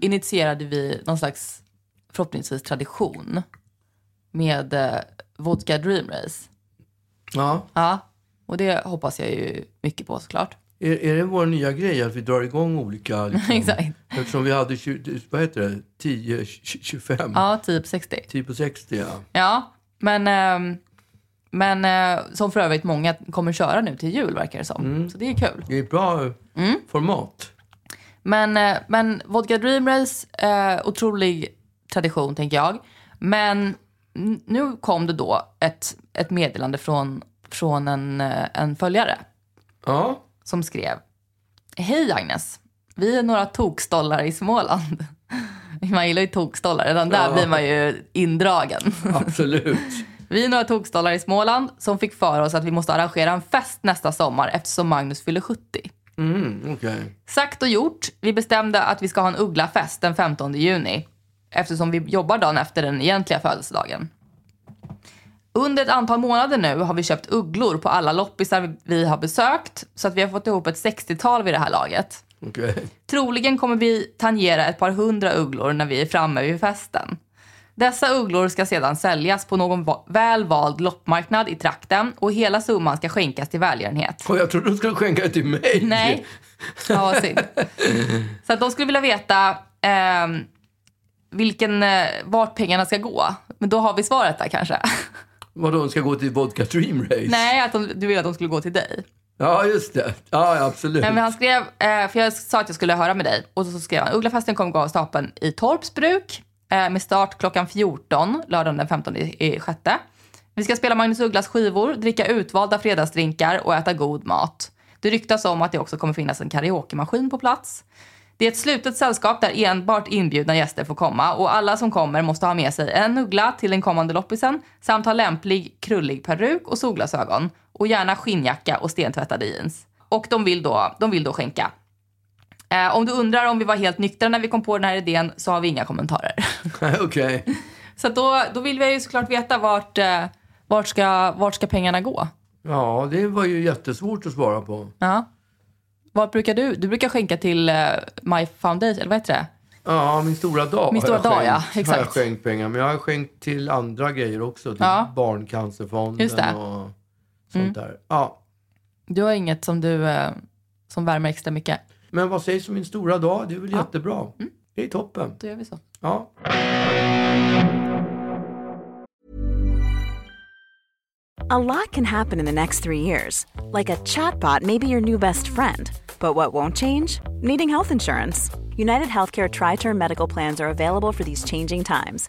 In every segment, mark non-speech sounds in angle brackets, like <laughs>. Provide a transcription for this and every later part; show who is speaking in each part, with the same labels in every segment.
Speaker 1: initierade vi någon slags, förhoppningsvis, tradition med eh, Vodka Dream Race.
Speaker 2: Ja.
Speaker 1: Ja, och det hoppas jag ju mycket på såklart. <laughs>
Speaker 2: Är, är det vår nya grej att vi drar igång olika... Liksom,
Speaker 1: Exakt.
Speaker 2: Eftersom vi hade 20, vad heter det? 10, 25,
Speaker 1: Ja, typ 60.
Speaker 2: 10 på 60. Ja.
Speaker 1: Ja, men, ehm, men eh, som för övrigt många kommer köra nu till jul verkar det som. Så det är kul.
Speaker 2: Det är ett bra
Speaker 1: Mm.
Speaker 2: format.
Speaker 1: Men, eh, men Vodka Dream Race, eh, otrolig tradition tänker jag. Men n- nu kom det då ett, ett meddelande från, från en, eh, en följare <laughs>
Speaker 2: Ja.
Speaker 1: som skrev. Hej Agnes, vi är några tokstollar i Småland. <laughs> Man gillar ju tokstollar, redan där
Speaker 2: Ja.
Speaker 1: blir man ju indragen. <laughs>
Speaker 2: Absolut.
Speaker 1: Vi är några tokstollar i Småland som fick för oss att vi måste arrangera en fest nästa sommar eftersom Magnus fyller 70.
Speaker 2: Mm, Okej.
Speaker 1: Sagt och gjort, vi bestämde att vi ska ha en ugglafest den 15 juni eftersom vi jobbar dagen efter den egentliga födelsedagen. Under ett antal månader nu har vi köpt ugglor på alla loppisar vi har besökt så att vi har fått ihop ett 60-tal vid det här laget.
Speaker 2: Okej.
Speaker 1: Troligen kommer vi tangera ett par hundra ugglor när vi är framme vid festen. Dessa ugglor ska sedan säljas på någon va- väl vald loppmarknad i trakten och hela summan ska skänkas till välgörenhet.
Speaker 2: Och jag trodde du skulle skänka det till mig.
Speaker 1: Nej. Ja, vad synd. Så att de skulle vilja veta ehm, vilken, eh, vart pengarna ska gå. Men då har vi svaret där kanske.
Speaker 2: Vadå, de ska gå till Vodka Dream Race?
Speaker 1: Nej, att de, du ville att de skulle gå till dig.
Speaker 2: Ja, just det. Ja, ja, absolut.
Speaker 1: Nej, men han skrev, eh, för jag sa att jag skulle höra med dig. Och så skrev han, Ugglafesten kommer gå av stapeln i Torpsbruk eh, med start klockan 14, lördagen den 15 i, i sjätte. Vi ska spela Magnus Ugglas skivor, dricka utvalda fredagsdrinkar och äta god mat. Det ryktas om att det också kommer finnas en karaokemaskin på plats. Det är ett slutet sällskap där enbart inbjudna gäster får komma och alla som kommer måste ha med sig en uggla till den kommande loppisen samt ha lämplig krullig peruk och solglasögon och gärna skinnjacka och stentvättade jeans. Och de vill då, de vill då skänka. Eh, om du undrar om vi var helt nyktra när vi kom på den här idén så har vi inga kommentarer. <laughs>
Speaker 2: <laughs> Okej.
Speaker 1: så att då, då vill vi ju såklart veta vart, eh, vart, ska, vart ska pengarna gå.
Speaker 2: Ja, det var ju jättesvårt att svara på.
Speaker 1: Ja. Vad brukar du? Du brukar skänka till eh, My Foundation, eller vad heter det?
Speaker 2: Ja, min stora dag
Speaker 1: Min stora
Speaker 2: har jag
Speaker 1: dag, ja.
Speaker 2: skänkt-
Speaker 1: Exakt.
Speaker 2: Har jag skänkt pengar. Men jag har skänkt till andra grejer också. Till
Speaker 1: Ja.
Speaker 2: Barncancerfonden
Speaker 1: Just det. Mm.
Speaker 2: och sånt där. Ja.
Speaker 1: Du har inget som du eh, som värmer extra mycket.
Speaker 2: Men vad sägs om min stora dag? Det är väl jättebra?
Speaker 1: Mm.
Speaker 2: Det är toppen.
Speaker 1: Då gör vi så.
Speaker 2: Ja.
Speaker 3: A lot can happen in the next three years. Like a chatbot may be your new best friend. But what won't change? Needing health insurance. United Healthcare Tri Term Medical Plans are available for these changing times.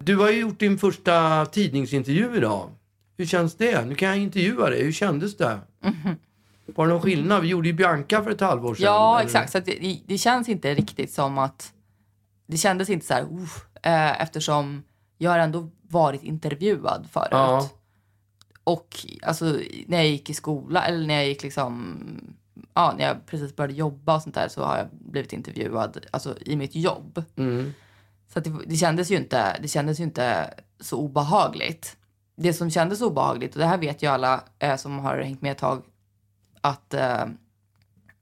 Speaker 2: Du har ju gjort din första tidningsintervju idag. Hur känns det? Nu kan jag intervjua dig. Hur kändes det? Var det någon skillnad? Vi gjorde ju Bianca för ett halvår sedan.
Speaker 1: Mhm. Ja,
Speaker 2: eller?
Speaker 1: exakt. Så att det, det känns inte riktigt som att... Det kändes inte så här... "Uff", eh, eftersom jag har ändå varit intervjuad förut.
Speaker 2: Ja.
Speaker 1: Och alltså, när jag gick i skola eller när jag gick liksom... Ja, när jag precis började jobba och sånt där så har jag blivit intervjuad alltså, i mitt jobb.
Speaker 2: Mm.
Speaker 1: Så att det, det, kändes ju inte, det kändes ju inte så obehagligt. Det som kändes obehagligt, och det här vet ju alla eh, som har hängt med ett tag, att, eh,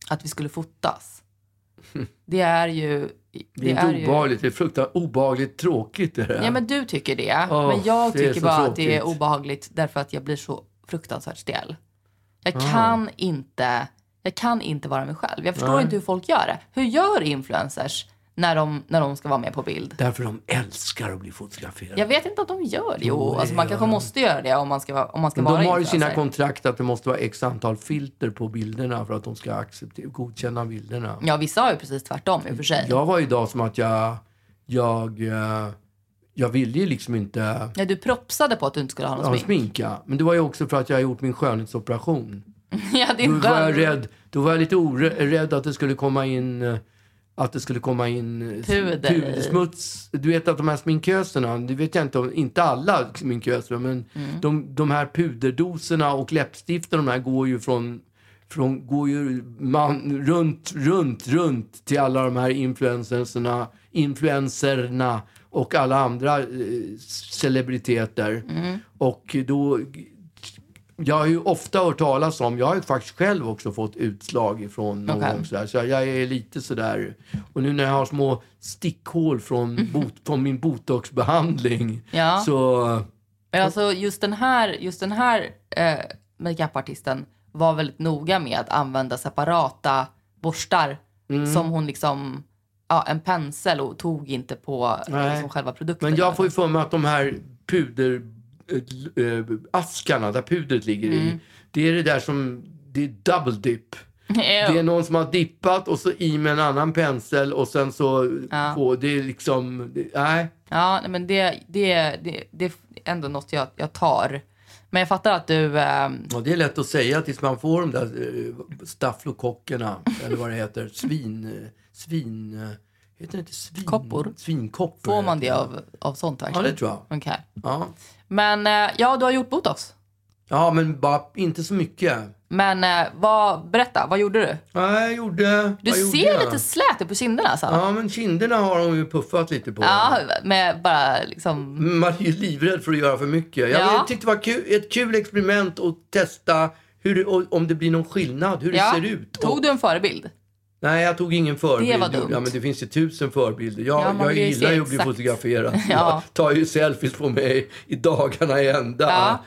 Speaker 1: att vi
Speaker 2: <laughs>
Speaker 1: skulle fotas. Det är ju...
Speaker 2: Det är, inte obehagligt. Det är fruktansvärt obehagligt tråkigt. Är det.
Speaker 1: Ja, men du tycker det.
Speaker 2: Åh,
Speaker 1: men jag
Speaker 2: det är
Speaker 1: tycker
Speaker 2: så
Speaker 1: bara att det är
Speaker 2: tråkigt. Ah.
Speaker 1: obehagligt därför att jag blir så fruktansvärt stel. Jag kan inte... Jag kan inte vara mig själv. Jag förstår inte hur folk gör det. Hur gör influencers när de, när de ska vara med på bild?
Speaker 2: Därför de älskar att bli fotograferade.
Speaker 1: Jag vet inte om de gör det. Jo,
Speaker 2: det
Speaker 1: alltså man
Speaker 2: gör
Speaker 1: kanske
Speaker 2: de.
Speaker 1: måste göra det om man ska, vara- om man ska vara
Speaker 2: de har i
Speaker 1: influencer.
Speaker 2: sina kontrakt att det måste vara x antal filter på bilderna för att de ska acceptera, godkänna bilderna.
Speaker 1: Ja, vissa har ju precis tvärtom i och för sig. Ja.
Speaker 2: Jag var idag som att jag, jag, eh, jag ville ju liksom inte
Speaker 1: du propsade på att du inte skulle ha någon
Speaker 2: ha
Speaker 1: smink.
Speaker 2: sminka. Men det var ju också för att jag har gjort min skönhetsoperation.
Speaker 1: <laughs> Ja, det
Speaker 2: Då
Speaker 1: är
Speaker 2: var jag
Speaker 1: skön.
Speaker 2: rädd, då var jag lite orädd att det skulle komma in eh, att det skulle komma in eh,
Speaker 1: Puder i.
Speaker 2: pudersmuts. Du vet att de här sminköserna, det vet jag inte om, inte alla sminköser, men
Speaker 1: Mm.
Speaker 2: de, de här puderdoserna och läppstiften, de här går ju från, från går ju man, runt, runt, runt till alla de här influencerserna, influencerna och alla andra eh, celebriteter.
Speaker 1: Mm.
Speaker 2: Och då jag har ju ofta hört talas om, jag har ju faktiskt själv också fått utslag ifrån någon
Speaker 1: Okej.
Speaker 2: gång sådär. Så jag är lite sådär. Och nu när jag har små stickhål från, bot, från min botoxbehandling
Speaker 1: Mm. Ja.
Speaker 2: så...
Speaker 1: Men alltså just den här, just den här eh, makeupartisten var väldigt noga med att använda separata borstar
Speaker 2: Mm.
Speaker 1: som hon liksom, ja en pensel och tog inte på
Speaker 2: Nej.
Speaker 1: liksom själva produkten.
Speaker 2: Men jag får ju för mig att de här puder... eh, eh, askarna där pudret ligger
Speaker 1: Mm.
Speaker 2: i, det är det där som... Det är double dip.
Speaker 1: <laughs>
Speaker 2: Det är någon som har dippat och så i med en annan pensel och sen så...
Speaker 1: Ja.
Speaker 2: På, det är liksom... det- Nej.
Speaker 1: Ja, nej, men det, det, det, det är ändå något jag, jag tar. Men jag fattar att du, eh,
Speaker 2: Ja, det är lätt att säga tills man får de där eh,
Speaker 1: <laughs>
Speaker 2: stafflokockerna, eller vad det heter, svin... eh, svin eh, heter det inte svin?
Speaker 1: Koppor?
Speaker 2: Svinkoppor.
Speaker 1: får man det
Speaker 2: heter
Speaker 1: av, av sånt
Speaker 2: Ja,
Speaker 1: verkligen?
Speaker 2: det tror jag.
Speaker 1: Okej.
Speaker 2: Ja,
Speaker 1: Men eh, ja, du har gjort botox.
Speaker 2: ja men bara inte så mycket.
Speaker 1: Men eh, vad, berätta, vad gjorde du?
Speaker 2: Nej, jag gjorde...
Speaker 1: Du
Speaker 2: vad gjorde
Speaker 1: ser
Speaker 2: jag?
Speaker 1: lite slät ut på kinderna Sanna.
Speaker 2: Ja, men kinderna har de ju puffat lite på. Mm,
Speaker 1: Ja, med bara liksom...
Speaker 2: Man är ju livrädd för att göra för mycket. Jag
Speaker 1: Ja.
Speaker 2: tyckte det var kul, ett kul experiment att testa hur, det- och- om det blir någon skillnad, hur
Speaker 1: Ja.
Speaker 2: det ser ut.
Speaker 1: Tog du en förebild?
Speaker 2: Nej, jag tog ingen förebild.
Speaker 1: Det var dumt.
Speaker 2: Ja, men det finns ju tusen förebilder. Jag,
Speaker 1: Ja, man
Speaker 2: jag
Speaker 1: vill ju
Speaker 2: gillar
Speaker 1: se
Speaker 2: ju att bli
Speaker 1: exakt.
Speaker 2: fotograferad.
Speaker 1: <laughs> Ja.
Speaker 2: Jag tar ju selfies på mig i dagarna i ända.
Speaker 1: Ja.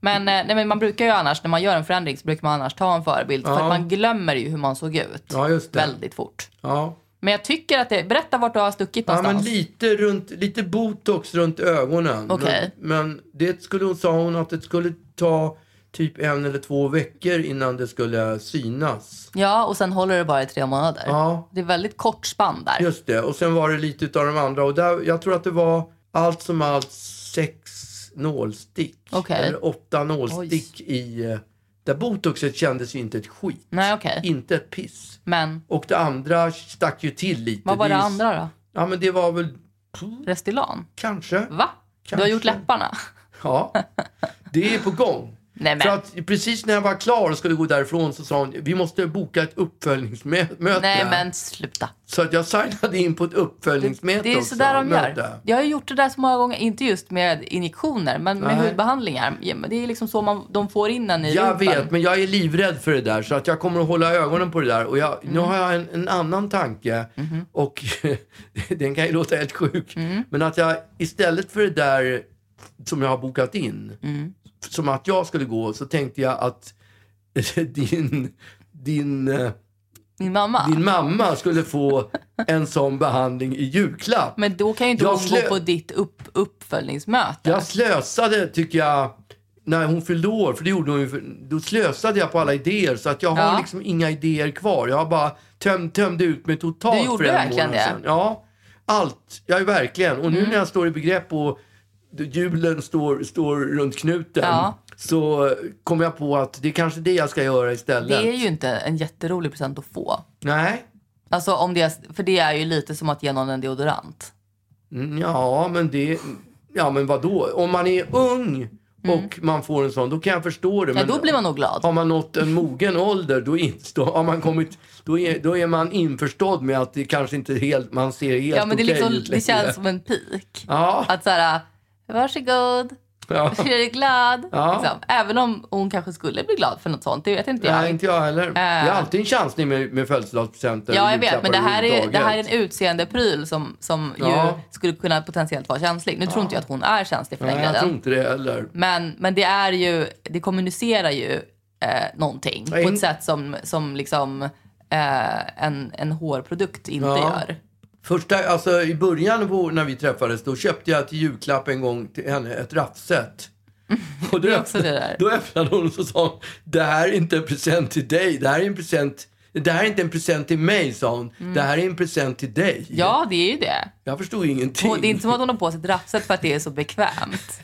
Speaker 1: Men, eh, nej, men man brukar ju annars, när man gör en förändring så brukar man annars ta en förebild. För
Speaker 2: Ja.
Speaker 1: att man glömmer ju hur man såg ut.
Speaker 2: Ja, just det.
Speaker 1: Väldigt fort.
Speaker 2: Ja.
Speaker 1: Men jag tycker att det, berätta vart du har stuckit
Speaker 2: Ja, men
Speaker 1: någonstans.
Speaker 2: lite, runt, lite botox runt ögonen.
Speaker 1: Okej.
Speaker 2: Men, men det skulle hon, sa hon att det skulle ta typ en eller två veckor innan det skulle synas.
Speaker 1: Ja, och sen håller det bara i tre månader.
Speaker 2: Ja.
Speaker 1: Det är väldigt kort spann där.
Speaker 2: Just det. Och sen var det lite utav de andra. Och där, jag tror att det var allt som allt sex nålstick.
Speaker 1: Okej.
Speaker 2: Eller åtta nålstick i... eh, Där botoxet kändes ju inte ett skit.
Speaker 1: Nej, okej.
Speaker 2: Inte ett piss.
Speaker 1: Men
Speaker 2: Och det andra stack ju till lite.
Speaker 1: vad var det
Speaker 2: är-
Speaker 1: andra då?
Speaker 2: Ja, men det var väl...
Speaker 1: Restylane?
Speaker 2: Kanske.
Speaker 1: Va? Du har
Speaker 2: Kanske.
Speaker 1: gjort läpparna?
Speaker 2: Ja. Det är på gång.
Speaker 1: <laughs> Nej, men.
Speaker 2: För att precis när jag var klar och skulle gå därifrån så sa hon vi måste boka ett uppföljningsmöte.
Speaker 1: Nej, men sluta.
Speaker 2: Så att jag signade in på ett uppföljningsmöte
Speaker 1: Det är
Speaker 2: också.
Speaker 1: sådär de
Speaker 2: Möte.
Speaker 1: gör. Jag har ju gjort det där så många gånger, inte just med injektioner, men med
Speaker 2: Nej.
Speaker 1: hudbehandlingar. Ja, men Det är liksom så man, de får in en i
Speaker 2: Jag
Speaker 1: rumpan.
Speaker 2: vet, men jag är livrädd för det där. Så att jag kommer att hålla ögonen på det där. Och jag, nu har jag en, en annan tanke. Och <laughs> den kan ju låta helt sjuk. Men att jag istället för det där som jag har bokat in. Som att jag skulle gå, så tänkte jag att <laughs> din, din, eh,
Speaker 1: Min mamma.
Speaker 2: din mamma skulle få en sån behandling i julklapp.
Speaker 1: Men då kan ju inte
Speaker 2: Jag
Speaker 1: hon
Speaker 2: slö-
Speaker 1: gå på ditt upp, uppföljningsmöte.
Speaker 2: Jag slösade, tycker jag, när hon fyllde år, för det gjorde hon ju, för- då slösade jag på alla idéer så att jag har
Speaker 1: Ja.
Speaker 2: liksom inga idéer kvar. Jag har bara töm, tömde ut mig totalt
Speaker 1: Du
Speaker 2: för
Speaker 1: gjorde
Speaker 2: en
Speaker 1: verkligen
Speaker 2: månad
Speaker 1: det?
Speaker 2: sedan.
Speaker 1: Mm.
Speaker 2: Ja, allt. Jag är verkligen. Och nu när jag står i begrepp och hjulen står, står runt knuten
Speaker 1: Ja.
Speaker 2: så kom jag på att det är kanske det jag ska göra istället.
Speaker 1: Det är ju inte en jätterolig present att få.
Speaker 2: Nej.
Speaker 1: Alltså om det är, för det är ju lite som att ge någon en deodorant.
Speaker 2: Mm, Ja, men det... Ja, men vadå? Om man är ung och man får en sån, då kan jag förstå det.
Speaker 1: Mm. Ja,
Speaker 2: men-
Speaker 1: då blir man nog glad.
Speaker 2: Har man nått en mogen ålder, då, inst- då, har man kommit, då, är, då är man införstådd med att det kanske inte är helt, man ser helt
Speaker 1: Ja, men det, är
Speaker 2: okej
Speaker 1: liksom,
Speaker 2: ut
Speaker 1: det
Speaker 2: längre.
Speaker 1: känns som en pik.
Speaker 2: Ja,
Speaker 1: Att så här, varsågod, <laughs>
Speaker 2: ja.
Speaker 1: är du glad?
Speaker 2: Ja.
Speaker 1: Liksom. Även om hon kanske skulle bli glad för något sånt, det vet inte jag.
Speaker 2: Nej, inte jag heller. Det är alltid en chansning med, med födelsedagspresenter.
Speaker 1: Äh. Ja,
Speaker 2: och
Speaker 1: jag vet. Men det
Speaker 2: julklappar
Speaker 1: här är, det här är en
Speaker 2: överhuvudtaget.
Speaker 1: utseendepryl som, som
Speaker 2: Ja.
Speaker 1: ju skulle kunna potentiellt vara känslig. Nu tror inte jag att hon är känslig för den
Speaker 2: Nej, jag tror
Speaker 1: grejen.
Speaker 2: inte det heller.
Speaker 1: Men, men det är ju, det kommunicerar ju eh, någonting på
Speaker 2: in-
Speaker 1: ett sätt som, som liksom eh, en, en hårprodukt inte
Speaker 2: Ja.
Speaker 1: gör.
Speaker 2: Första, alltså i början på, när vi träffades, då köpte jag till julklapp en gång till henne ett
Speaker 1: <laughs>
Speaker 2: raffset. Och då,
Speaker 1: Det är också det
Speaker 2: öppnade,
Speaker 1: där.
Speaker 2: då öppnade hon och så sa hon, det här är inte en present till dig, det här är en present det här är inte en present till mig, sa hon. Det här är en present till dig.
Speaker 1: Mm. Ja, det är ju det.
Speaker 2: Jag förstod ingenting.
Speaker 1: Och det är inte som att hon har på sig ett raffset för att det är
Speaker 2: <laughs>
Speaker 1: så bekvämt.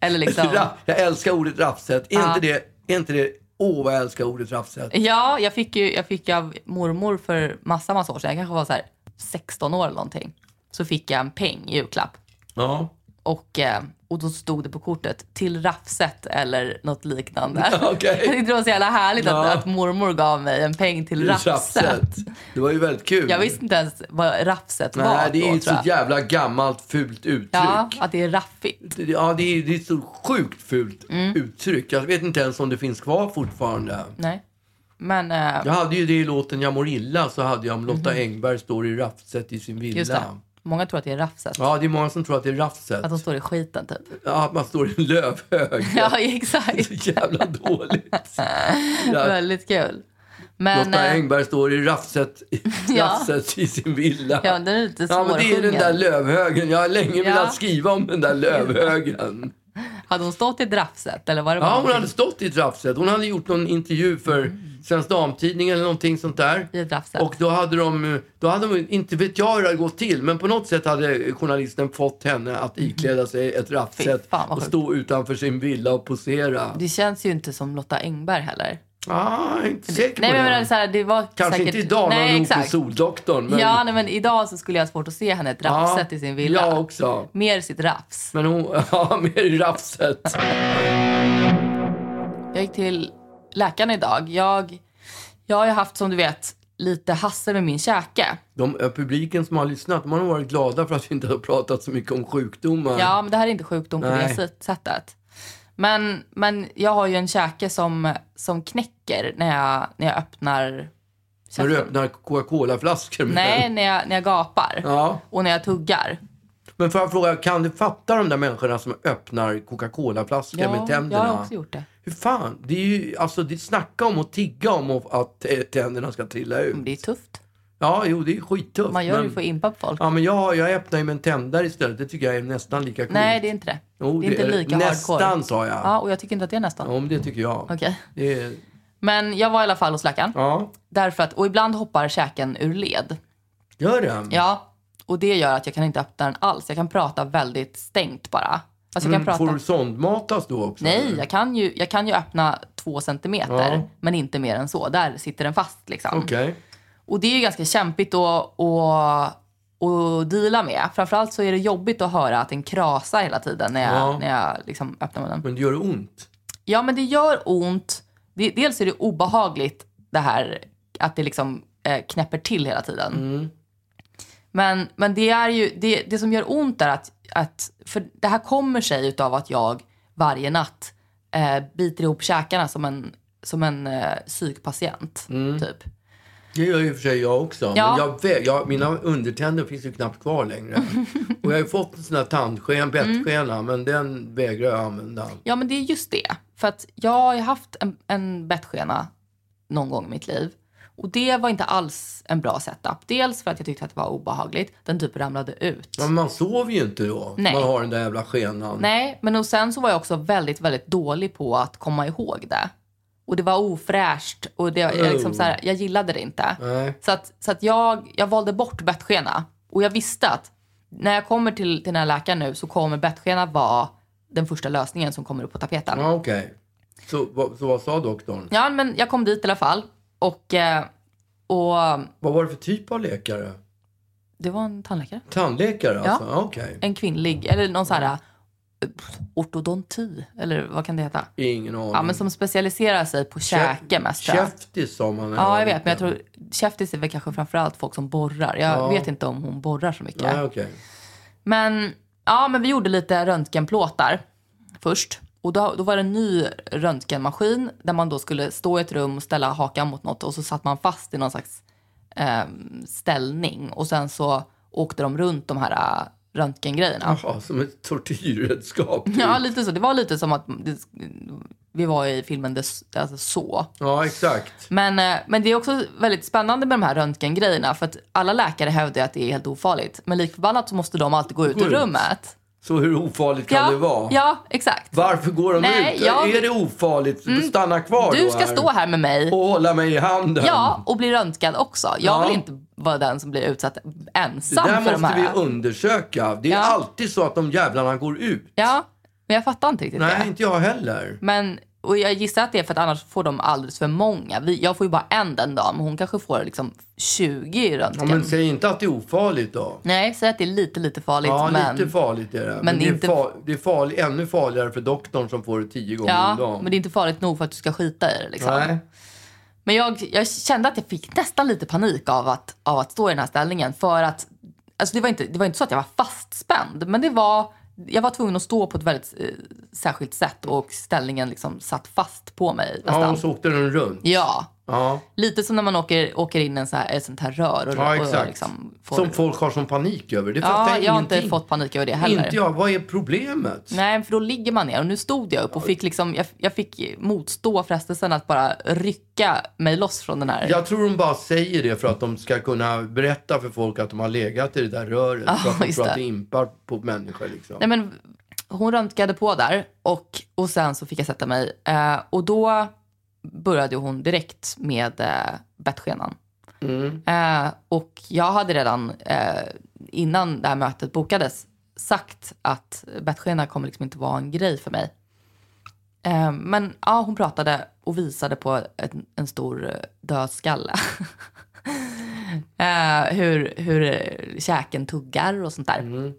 Speaker 1: Eller liksom...
Speaker 2: Ra- Jag älskar ordet raffset. Är, inte det, är inte det... Åh, vad jag älskar ordet raffset.
Speaker 1: Ja, jag fick ju jag fick av mormor för massa, massa år sedan. Jag kanske var så här 16 år eller någonting. Så fick jag en peng i julklapp.
Speaker 2: Ja.
Speaker 1: Och, eh, och då stod det på kortet till raffset eller
Speaker 2: <laughs>
Speaker 1: något liknande.
Speaker 2: Okej.
Speaker 1: Jag tyckte det var så jävla härligt
Speaker 2: Ja.
Speaker 1: att, att mormor gav mig en peng till raffset.
Speaker 2: Raffset. Det var ju väldigt kul.
Speaker 1: Jag visste inte ens vad raffset
Speaker 2: Nej,
Speaker 1: var
Speaker 2: det är
Speaker 1: då,
Speaker 2: ju
Speaker 1: tror
Speaker 2: så
Speaker 1: jag.
Speaker 2: jävla gammalt fult uttryck.
Speaker 1: Ja, att det är raffigt.
Speaker 2: Det- Ja, det är, det är så sjukt fult
Speaker 1: Mm.
Speaker 2: uttryck. Jag vet inte ens om det finns kvar fortfarande.
Speaker 1: Nej. Men eh,
Speaker 2: Jag hade ju det i låten Jag mår illa, så hade jag om Lotta Engberg står i raffset i sin villa.
Speaker 1: Mhm. just det, många tror att det är raffset.
Speaker 2: Ja, det är många som tror att det är raffset.
Speaker 1: Att de står i skiten typ.
Speaker 2: Ja, att man står i en
Speaker 1: <laughs>
Speaker 2: lövhög.
Speaker 1: Ja, exakt.
Speaker 2: Så jävla dåligt. <laughs> Ja.
Speaker 1: Väldigt kul. Men,
Speaker 2: Lotta
Speaker 1: eh,
Speaker 2: Engberg står i raffset, i
Speaker 1: <laughs> Ja.
Speaker 2: raffset i sin villa.
Speaker 1: Ja, den är lite
Speaker 2: Ja, men det är den
Speaker 1: svårsjungen.
Speaker 2: där lövhögen. Jag har länge velat skriva om
Speaker 1: <laughs>
Speaker 2: den där lövhögen.
Speaker 1: Hade hon stått i draffset eller var det
Speaker 2: Ja,
Speaker 1: bara
Speaker 2: hon hade stått i Trafset. Hon hade gjort någon intervju för Svensk Damtidning eller någonting sånt där.
Speaker 1: i draffset?
Speaker 2: Och då hade de, då hade de, inte vet jag hur det hade gått till, men på något sätt hade journalisten fått henne att ikläda sig ett raffset
Speaker 1: Mm. Fy fan, vad
Speaker 2: och
Speaker 1: sjukt.
Speaker 2: stå utanför sin villa och posera.
Speaker 1: Det känns ju inte som Lotta Engberg heller.
Speaker 2: Ah, jag är inte säker
Speaker 1: Nej,
Speaker 2: på
Speaker 1: men jag
Speaker 2: det.
Speaker 1: menar så här, det var
Speaker 2: Kanske
Speaker 1: säkert...
Speaker 2: inte idag när
Speaker 1: Nej,
Speaker 2: hon gjorde
Speaker 1: exakt.
Speaker 2: Soldoktorn. Men,
Speaker 1: Ja, nej, men idag så skulle jag ha svårt att se henne i draffset i sin villa.
Speaker 2: Jag också.
Speaker 1: Mer sitt raffs.
Speaker 2: Men hon, <laughs> ja, mer i raffset.
Speaker 1: Jag gick till läkaren idag. Jag, jag har ju haft, som du vet, lite hassel med min käke.
Speaker 2: De, eh, publiken som har lyssnat, de har nog varit glada för att vi inte har pratat så mycket om sjukdomar.
Speaker 1: Ja, men det här är inte sjukdom på
Speaker 2: Nej.
Speaker 1: det sit- sättet. Men, men jag har ju en käke som, som knäcker när jag, när jag öppnar
Speaker 2: När du
Speaker 1: käften.
Speaker 2: öppnar Coca-Cola-flaskor med
Speaker 1: Nej,
Speaker 2: den.
Speaker 1: när jag, när jag gapar.
Speaker 2: Mm. Ja.
Speaker 1: Och när jag tuggar.
Speaker 2: Men får jag fråga, kan du fatta de där människorna som öppnar Coca-Cola-flaskor med
Speaker 1: jag
Speaker 2: tänderna?
Speaker 1: har också gjort det.
Speaker 2: Hur fan? Det är ju, alltså det snacka om att tigga om att- att eh, tänderna ska trilla ut.
Speaker 1: Men det är tufft.
Speaker 2: Ja, jo det är skittufft.
Speaker 1: Mm. Man gör det
Speaker 2: men...
Speaker 1: ju för att impa på folk.
Speaker 2: Ja, men jag, jag öppnar ju med en tändare istället. Det tycker jag är nästan lika coolt.
Speaker 1: Nej, det är inte det.
Speaker 2: Jo,
Speaker 1: det är inte lika
Speaker 2: Nästan
Speaker 1: hardcore.
Speaker 2: sa jag.
Speaker 1: Ja, och jag tycker inte att det är nästan.
Speaker 2: Ja, men det tycker jag.
Speaker 1: Okej.
Speaker 2: Det är,
Speaker 1: Men jag var i alla fall hos läkaren.
Speaker 2: ja, Mm.
Speaker 1: Därför att, och ibland hoppar käken ur led.
Speaker 2: gör det.
Speaker 1: Ja, och det gör att jag kan inte öppna den alls. Jag kan prata väldigt stängt bara. Alltså jag kan
Speaker 2: Men
Speaker 1: prata...
Speaker 2: Mm, får du sondmatas då också?
Speaker 1: Nej, jag kan, ju, jag kan ju öppna två centimeter,
Speaker 2: Ja.
Speaker 1: men inte mer än så. Där sitter den fast liksom.
Speaker 2: Okej.
Speaker 1: Och det är ju ganska kämpigt att, att, att deala med. Framförallt så är det jobbigt att höra att den krasar hela tiden när jag,
Speaker 2: Ja.
Speaker 1: när jag liksom öppnar munnen.
Speaker 2: Men det gör ont.
Speaker 1: Ja, men det gör ont. Det, dels är det obehagligt det här att det liksom eh, knäpper till hela tiden. Men, men det är ju, det, det som gör ont är att, att, för det här kommer sig utav att jag varje natt eh, biter ihop käkarna som en, som en eh, psykpatient. Typ.
Speaker 2: Det gör ju i och för sig jag också.
Speaker 1: Ja.
Speaker 2: Men jag, vä- jag, mina undertänder finns ju knappt kvar
Speaker 1: <laughs>
Speaker 2: längre. och jag har ju fått en sån här
Speaker 1: Mm.
Speaker 2: tandsken, bettskena, men den vägrar jag använda.
Speaker 1: Ja, men det är just det. För att jag har ju haft en, en bettskena någon gång i mitt liv. Och det var inte alls en bra setup. Dels för att jag tyckte att det var obehagligt. Den typ ramlade ut.
Speaker 2: Men man sover ju inte då.
Speaker 1: Nej.
Speaker 2: Man har den där jävla skenan.
Speaker 1: Nej, men och sen så var jag också väldigt, väldigt dålig på att komma ihåg det. Och det var ofräscht och det, jag, liksom så här, jag gillade det inte.
Speaker 2: Nej.
Speaker 1: Så att, så att jag, jag valde bort bettskena. Och jag visste att när jag kommer till, till den här läkaren nu så kommer bettskena vara den första lösningen som kommer upp på tapeten.
Speaker 2: Ja, okej. Så, vad- så vad sa doktorn?
Speaker 1: Ja, men jag kom dit i alla fall. Och, eh, och
Speaker 2: Vad var det för typ av läkare?
Speaker 1: det var en tandläkare.
Speaker 2: Tandläkare alltså? Ja. Okej.
Speaker 1: En kvinnlig, eller någon så här eh, ortodonti, eller vad kan det heta?
Speaker 2: Ingen aning.
Speaker 1: Ja, men som specialiserar sig på käke mest. tror jag.
Speaker 2: Käftis sa man. när
Speaker 1: Ja,
Speaker 2: var
Speaker 1: jag vet. Men jag
Speaker 2: liten.
Speaker 1: tror käftis är väl kanske framförallt folk som borrar. Jag
Speaker 2: Ja.
Speaker 1: vet inte om hon borrar så mycket.
Speaker 2: Nej, okej.
Speaker 1: Men, ja, men vi gjorde lite röntgenplåtar först. Och då, då var det en ny röntgenmaskin där man då skulle stå i ett rum och ställa hakan mot något och så satt man fast i någon slags eh, ställning. Och sen så åkte de runt de här eh, <laughs> röntgengrejerna.
Speaker 2: Jaha, som ett tortyrredskap. typ.
Speaker 1: Ja, lite så. Det var lite som att det, vi var i filmen The, S- alltså, Så.
Speaker 2: Ja, exakt.
Speaker 1: Men, eh, men det är också väldigt spännande med de här röntgengrejerna för att alla läkare hävdar ju att det är helt ofarligt. Men lik förbannat så måste de alltid gå ut
Speaker 2: Gå
Speaker 1: ur
Speaker 2: ut.
Speaker 1: rummet.
Speaker 2: Så hur ofarligt kan
Speaker 1: ja,
Speaker 2: det vara?
Speaker 1: Ja, exakt.
Speaker 2: Varför går de
Speaker 1: Nej,
Speaker 2: ut?
Speaker 1: jag- Mm.
Speaker 2: Är det ofarligt? Stanna kvar
Speaker 1: Du
Speaker 2: då
Speaker 1: ska stå här med mig.
Speaker 2: Och hålla mig i handen.
Speaker 1: Ja, och bli röntgad också. Jag
Speaker 2: Ja.
Speaker 1: vill inte vara den som blir utsatt
Speaker 2: Det
Speaker 1: ensam
Speaker 2: där
Speaker 1: för de
Speaker 2: måste
Speaker 1: här.
Speaker 2: vi undersöka. Det är
Speaker 1: Ja.
Speaker 2: alltid så att de jävlarna går ut.
Speaker 1: Ja, men jag fattar inte riktigt
Speaker 2: Nej,
Speaker 1: det.
Speaker 2: inte jag heller.
Speaker 1: Men, och jag gissar att det är för att annars får de alldeles för många. Vi, jag får ju bara en den dagen, men hon kanske får liksom 20 i
Speaker 2: Ja,
Speaker 1: röntgen.
Speaker 2: men säg inte att det är ofarligt då.
Speaker 1: Nej, säg att det är lite, lite farligt.
Speaker 2: Ja,
Speaker 1: men...
Speaker 2: lite farligt är det. Men,
Speaker 1: men
Speaker 2: det, är
Speaker 1: inte-
Speaker 2: fa- det är farlig, ännu farligare för doktorn som får det tio gånger om
Speaker 1: Ja,
Speaker 2: dagen.
Speaker 1: men det är inte farligt nog för att du ska skita i det. Liksom.
Speaker 2: Nej.
Speaker 1: Men jag, jag kände att jag fick nästan lite panik av att, av att stå i den här ställningen. För att, alltså det, var inte, det var inte så att jag var fastspänd, men det var, jag var tvungen att stå på ett väldigt eh, särskilt sätt och ställningen liksom satt fast på mig.
Speaker 2: Ja,
Speaker 1: Nästan.
Speaker 2: och så åkte den runt.
Speaker 1: ja,
Speaker 2: Ja.
Speaker 1: lite som när man åker, åker in i en så här, ett sånt här rör. Och,
Speaker 2: Ja,
Speaker 1: och
Speaker 2: exakt.
Speaker 1: liksom får,
Speaker 2: Som folk har som panik över. Det fattar
Speaker 1: ja,
Speaker 2: jag
Speaker 1: jag har
Speaker 2: ingenting.
Speaker 1: inte fått panik över det heller.
Speaker 2: Inte jag. Vad är problemet?
Speaker 1: Nej, för då ligger man ner och nu stod jag upp och fick liksom, jag, jag fick motstå frestelsen att bara rycka mig loss från den här.
Speaker 2: Jag tror de bara säger det för att de ska kunna berätta för folk att de har legat i det där röret.
Speaker 1: Ja,
Speaker 2: så att de
Speaker 1: just
Speaker 2: tror
Speaker 1: det.
Speaker 2: att det impar på människor liksom.
Speaker 1: Nej, men hon röntgade på där och, och sen så fick jag sätta mig eh, och då började ju hon direkt med eh, bettskenan. Eh, och jag hade redan eh, innan det här mötet bokades sagt att bettskena kommer liksom inte vara en grej för mig. Eh, men ja, hon pratade och visade på en, en stor eh, död skalle. <laughs> eh, hur, hur eh, käken tuggar och sånt där.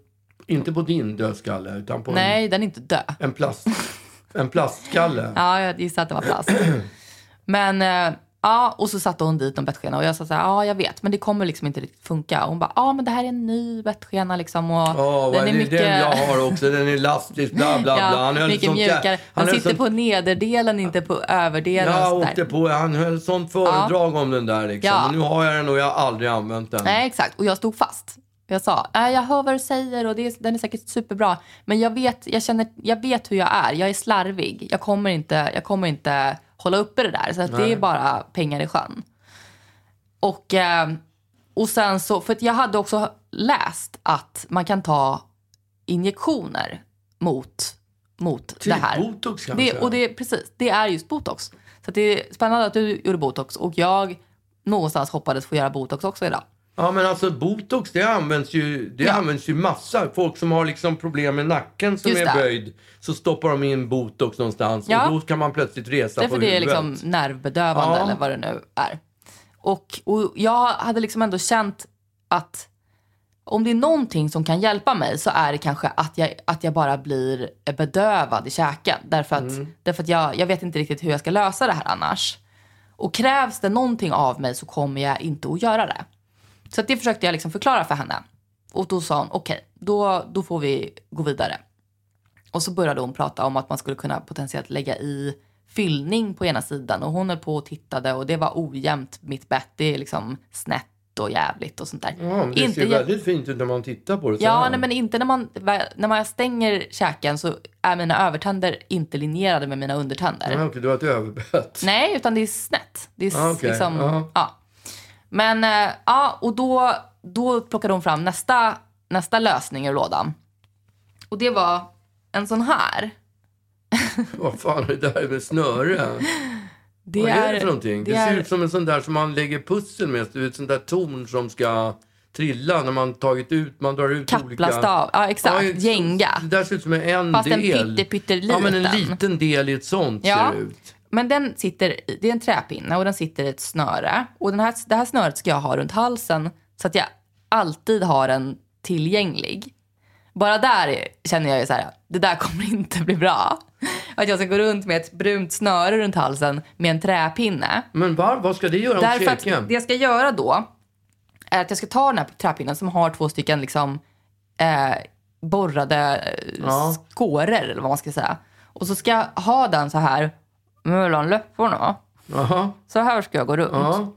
Speaker 2: Inte på din dödskalle utan på
Speaker 1: Nej, den är inte död.
Speaker 2: En, en, plast, en plastskalle.
Speaker 1: Ja, jag gissar att det var plast. <clears throat> Men eh, ja, och så satte hon dit en bettskena och jag sa så här, ja jag vet, men det kommer liksom inte riktigt funka. Och hon bara, ja men det här är en ny bettskena liksom och
Speaker 2: Ja, vad är det den jag har också? Den är elastisk, bla bla bla.
Speaker 1: <laughs> ja,
Speaker 2: höll
Speaker 1: mycket
Speaker 2: sånt jä-
Speaker 1: mjukare. Den
Speaker 2: höll
Speaker 1: sitter
Speaker 2: sånt-
Speaker 1: på nederdelen, inte på överdelen. och
Speaker 2: jag
Speaker 1: sådär.
Speaker 2: åkte på, han höll sånt föredrag om den där liksom.
Speaker 1: Ja.
Speaker 2: Men nu har jag den och jag har aldrig använt den.
Speaker 1: Nej, exakt. Och jag stod fast. Jag sa, "Äh, jag hör vad du säger och det är, den är säkert superbra. Men jag vet, jag, känner, jag vet hur jag är. Jag är slarvig. Jag kommer inte, jag kommer inte hålla uppe det där. Så att det är bara pengar i sjön. Och, eh, och sen så, för att jag hade också läst att man kan ta injektioner mot, mot
Speaker 2: Typ
Speaker 1: det här.
Speaker 2: botox kanske?
Speaker 1: Det, och det, precis, det är just botox. Så att det är spännande att du gjorde botox och jag någonstans hoppades få göra botox också idag.
Speaker 2: Ja men alltså botox det används ju, det
Speaker 1: Ja.
Speaker 2: används ju massa. Folk som har liksom problem med nacken som
Speaker 1: Just
Speaker 2: är
Speaker 1: det.
Speaker 2: böjd så stoppar de in botox någonstans
Speaker 1: Ja.
Speaker 2: och då kan man plötsligt resa
Speaker 1: Därför
Speaker 2: på
Speaker 1: det är
Speaker 2: huvudet.
Speaker 1: liksom nervbedövande
Speaker 2: Ja.
Speaker 1: eller vad det nu är. Och, och jag hade liksom ändå känt att om det är någonting som kan hjälpa mig så är det kanske att jag, att jag bara blir bedövad i käken. Därför att,
Speaker 2: Mm.
Speaker 1: därför att jag, jag vet inte riktigt hur jag ska lösa det här annars. Och krävs det någonting av mig så kommer jag inte att göra det. Så att det försökte jag liksom förklara för henne. Och då sa hon okej, då, då får vi gå vidare. Och så började hon prata om att man skulle kunna potentiellt lägga i fyllning på ena sidan och hon höll på och tittade och det var ojämnt mitt bett. Det är liksom snett och jävligt och sånt där.
Speaker 2: Ja, men det
Speaker 1: Inte
Speaker 2: ser
Speaker 1: jä-
Speaker 2: väldigt fint ut när man tittar på det så
Speaker 1: Ja,
Speaker 2: här.
Speaker 1: nej, men inte när man, när man stänger käken så är mina övertänder inte linjerade med mina undertänder.
Speaker 2: Ja, okej, du har ett överbett.
Speaker 1: Nej, utan det är snett. Det är
Speaker 2: Ah, okej.
Speaker 1: liksom,
Speaker 2: Ja.
Speaker 1: ja. Men eh, ja, och då, då plockade hon fram nästa, nästa lösning ur lådan. Och det var en sån här.
Speaker 2: <laughs> Vad fan är det där med snöre?
Speaker 1: Det
Speaker 2: Vad är det för någonting? Det,
Speaker 1: det
Speaker 2: ser
Speaker 1: är-
Speaker 2: ut som en sån där som man lägger pussel med. Du vet, ett sånt där torn som ska trilla när man tagit ut, man drar ut olika...
Speaker 1: Kaplastav, ja exakt.
Speaker 2: Ja,
Speaker 1: Jenga.
Speaker 2: Det där ser ut som en
Speaker 1: Fast en
Speaker 2: del.
Speaker 1: pytte- pytteliten.
Speaker 2: Ja, men en liten del i ett sånt
Speaker 1: Ja.
Speaker 2: ser det ut.
Speaker 1: Men den sitter, i- det är en träpinne och den sitter i ett snöre. Och den här, det här snöret ska jag ha runt halsen så att jag alltid har den tillgänglig. Bara där är- känner jag ju så här, det där kommer inte bli bra. Att jag ska gå runt med ett brunt snöre runt halsen med en träpinne.
Speaker 2: Men var, vad ska det göra om
Speaker 1: Därför att
Speaker 2: käken?
Speaker 1: det jag ska göra då är att jag ska ta den här träpinnen som har två stycken liksom eh, borrade eh,
Speaker 2: Ja.
Speaker 1: skåror eller vad man ska säga. Och så ska jag ha den så här mellan läpparna.
Speaker 2: Jaha,
Speaker 1: Så här ska jag gå runt.
Speaker 2: ja.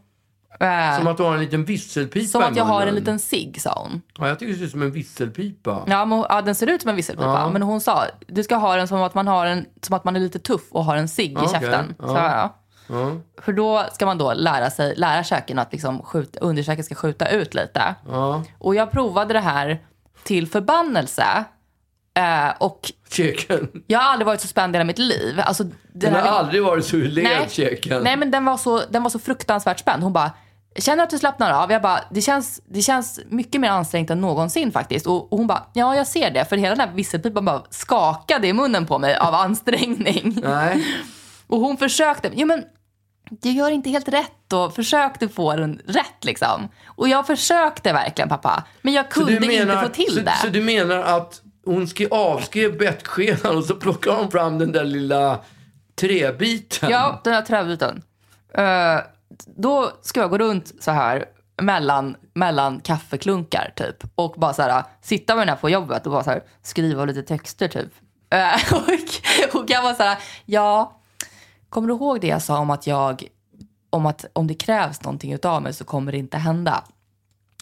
Speaker 1: Eh,
Speaker 2: Som att du har en liten visselpipa
Speaker 1: Som att
Speaker 2: i
Speaker 1: jag har en
Speaker 2: munnen.
Speaker 1: liten cigg, sa hon.
Speaker 2: Ja, jag tycker det ser ut som en visselpipa.
Speaker 1: Ja, men, ja, den ser ut som en visselpipa.
Speaker 2: Ja.
Speaker 1: Men hon sa, du ska ha den som att man, har en, som att man är lite tuff och har en cigg i
Speaker 2: Okej,
Speaker 1: käften.
Speaker 2: ja.
Speaker 1: Så, ja.
Speaker 2: Ja.
Speaker 1: För då ska man då lära sig, lära käken att liksom skjuta, underkäken ska skjuta ut lite.
Speaker 2: Ja.
Speaker 1: Och jag provade det här till förbannelse. Eh, och
Speaker 2: Käken.
Speaker 1: jag har aldrig varit så spänd i hela mitt liv. Alltså, den
Speaker 2: Den har
Speaker 1: här-
Speaker 2: aldrig varit så
Speaker 1: Nej.
Speaker 2: led, käken.
Speaker 1: Nej men den var, så, den var så fruktansvärt spänd. Hon bara, känner att du slappnar av? Jag bara, det känns, det känns mycket mer ansträngt än någonsin faktiskt. Och, och hon bara, ja jag ser det. För hela den här visselpipan bara skakade i munnen på mig av <laughs> ansträngning.
Speaker 2: Nej.
Speaker 1: Och hon försökte, jo men du gör inte helt rätt och försökte få den rätt liksom. Och jag försökte verkligen pappa. Men jag kunde inte få till
Speaker 2: så,
Speaker 1: det.
Speaker 2: Så du menar att hon skrev, avskrev bettskenan och så plockade hon fram den där lilla träbiten?
Speaker 1: Ja, den här träbiten. Eh, då ska jag gå runt så här mellan, mellan kaffeklunkar typ. Och bara så här, sitta med den här på jobbet och bara så här, skriva lite texter typ. Eh, <laughs> och, och jag var så här, ja, kommer du ihåg det jag sa om att jag, om att om det krävs någonting utav mig så kommer det inte hända?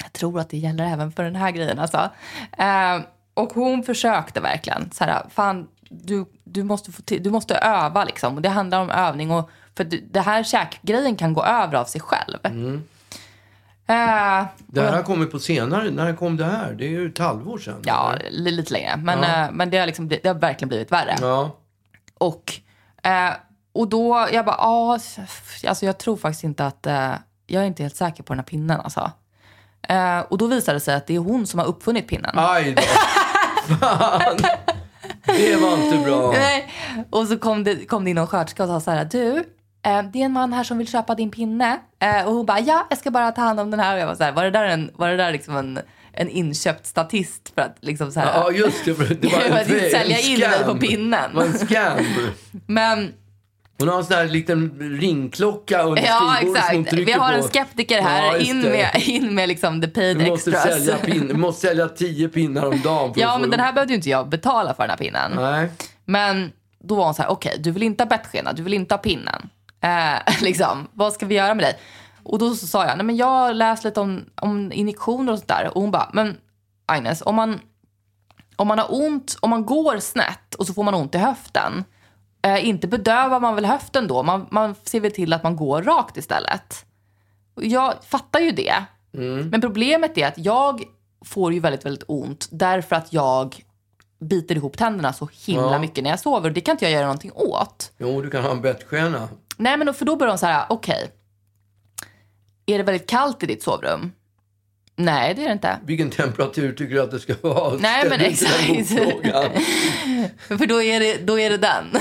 Speaker 1: Jag tror att det gäller även för den här grejen alltså. Eh, och hon försökte verkligen. Så här, fan, du, du, måste få till, du måste öva liksom. Och det handlar om övning. Och, för du, det här käkgrejen kan gå över av sig själv. Eh,
Speaker 2: Det här har kommit på senare. När kom det här? Det är ju ett halvår sedan.
Speaker 1: ja, li- lite längre. Men, eh, men det, har liksom, det, det har verkligen blivit värre.
Speaker 2: Ja.
Speaker 1: Och, eh, och då, jag bara, ja, alltså jag tror faktiskt inte att, eh, jag är inte helt säker på den här pinnen alltså. Eh, och då visade det sig att det är hon som har uppfunnit pinnen.
Speaker 2: Aj då. Fan. Det var inte bra.
Speaker 1: Nej. Och så kom det, kom det in någon sköterska och sa så här, du, eh, det är en man här som vill köpa din pinne. Eh, och hon bara, ja, jag ska bara ta hand om den här. Och jag var så här, var det där en, var det där liksom en, en inköpt statist för att liksom så här,
Speaker 2: Ja, just det. för Det var
Speaker 1: <laughs> för
Speaker 2: en,
Speaker 1: att inte sälja
Speaker 2: en
Speaker 1: in dig på
Speaker 2: scam.
Speaker 1: pinnen.
Speaker 2: Det var en scam.
Speaker 1: Men
Speaker 2: Hon har en sån här liten ringklocka under
Speaker 1: ja,
Speaker 2: skrivbordet som hon
Speaker 1: exakt.
Speaker 2: trycker
Speaker 1: Vi har
Speaker 2: på.
Speaker 1: en skeptiker här,
Speaker 2: Ja, just
Speaker 1: in,
Speaker 2: det.
Speaker 1: med, in med liksom the paid
Speaker 2: Du måste
Speaker 1: extras.
Speaker 2: sälja, pin, du måste sälja tio pinnar om dagen. För att
Speaker 1: Ja,
Speaker 2: få
Speaker 1: men den här
Speaker 2: ihop-
Speaker 1: behövde ju inte jag betala för den här pinnen.
Speaker 2: Nej.
Speaker 1: Men då var hon så här, okej, du vill inte ha bettskena, du vill inte ha pinnen. Eh, <laughs> liksom, vad ska vi göra med dig? Och då så sa jag, nej men jag har läst lite om, om injektioner och sånt där. Och hon bara, men Agnes, om man, om man har ont, om man går snett och så får man ont i höften. Eh, inte bedövar man väl höften då? Man, man ser väl till att man går rakt istället. Och Jag fattar ju det. Men problemet är att jag får ju väldigt, väldigt ont därför att jag biter ihop tänderna så himla
Speaker 2: Ja.
Speaker 1: mycket när jag sover. Det kan inte jag göra någonting åt.
Speaker 2: Jo, du kan ha en bettskena.
Speaker 1: Nej, men då- för då börjar de så här, okej. Är det väldigt kallt i ditt sovrum? Nej, det är det inte. <laughs>
Speaker 2: Vilken temperatur tycker du att det ska vara?
Speaker 1: Nej, men
Speaker 2: Ställ inte den
Speaker 1: exakt.
Speaker 2: motfrågan.
Speaker 1: För då är det, då är det den. <laughs>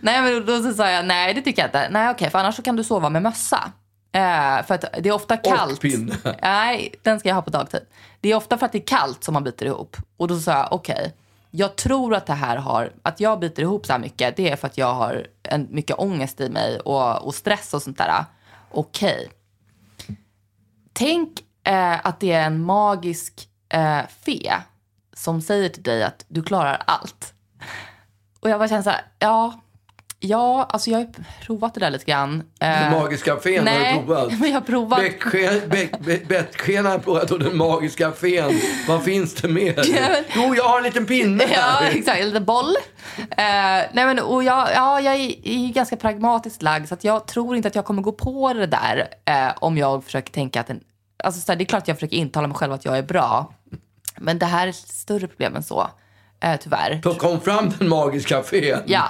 Speaker 1: nej, men då så sa jag, nej det tycker jag inte. Nej okej, för annars så kan du sova med mössa. Eh, för att det är ofta kallt.
Speaker 2: pinne.
Speaker 1: Nej, den ska jag ha på dagtid. Det är ofta för att det är kallt som man biter ihop. Och då sa jag, okej. jag tror att det här har, att jag biter ihop så här mycket, det är för att jag har en, mycket ångest i mig och, och stress och sånt där. Okej. Tänk eh, att det är en magisk eh, fe som säger till dig att du klarar allt. Och jag bara känner så här, ja, ja, alltså jag har ju provat det där lite grann.
Speaker 2: Den
Speaker 1: Eh,
Speaker 2: magiska fen har du
Speaker 1: nej,
Speaker 2: provat.
Speaker 1: <laughs> men jag har provat.
Speaker 2: Bettske- be- be- Bettskenan har jag provat och den magiska fen. Vad finns det
Speaker 1: <laughs>
Speaker 2: mer?
Speaker 1: men-
Speaker 2: Jo, jag har en liten pinne
Speaker 1: <laughs> Ja,
Speaker 2: här.
Speaker 1: exakt. En liten boll. Eh, nej men, och jag, ja, jag är är ju ganska pragmatiskt lagd så att jag tror inte att jag kommer gå på det där eh, om jag försöker tänka att en, alltså, så här, det är klart att jag försöker intala mig själv att jag är bra. Men det här är ett större problem än så, eh, tyvärr.
Speaker 2: Så kom fram den magiska fen.
Speaker 1: Ja.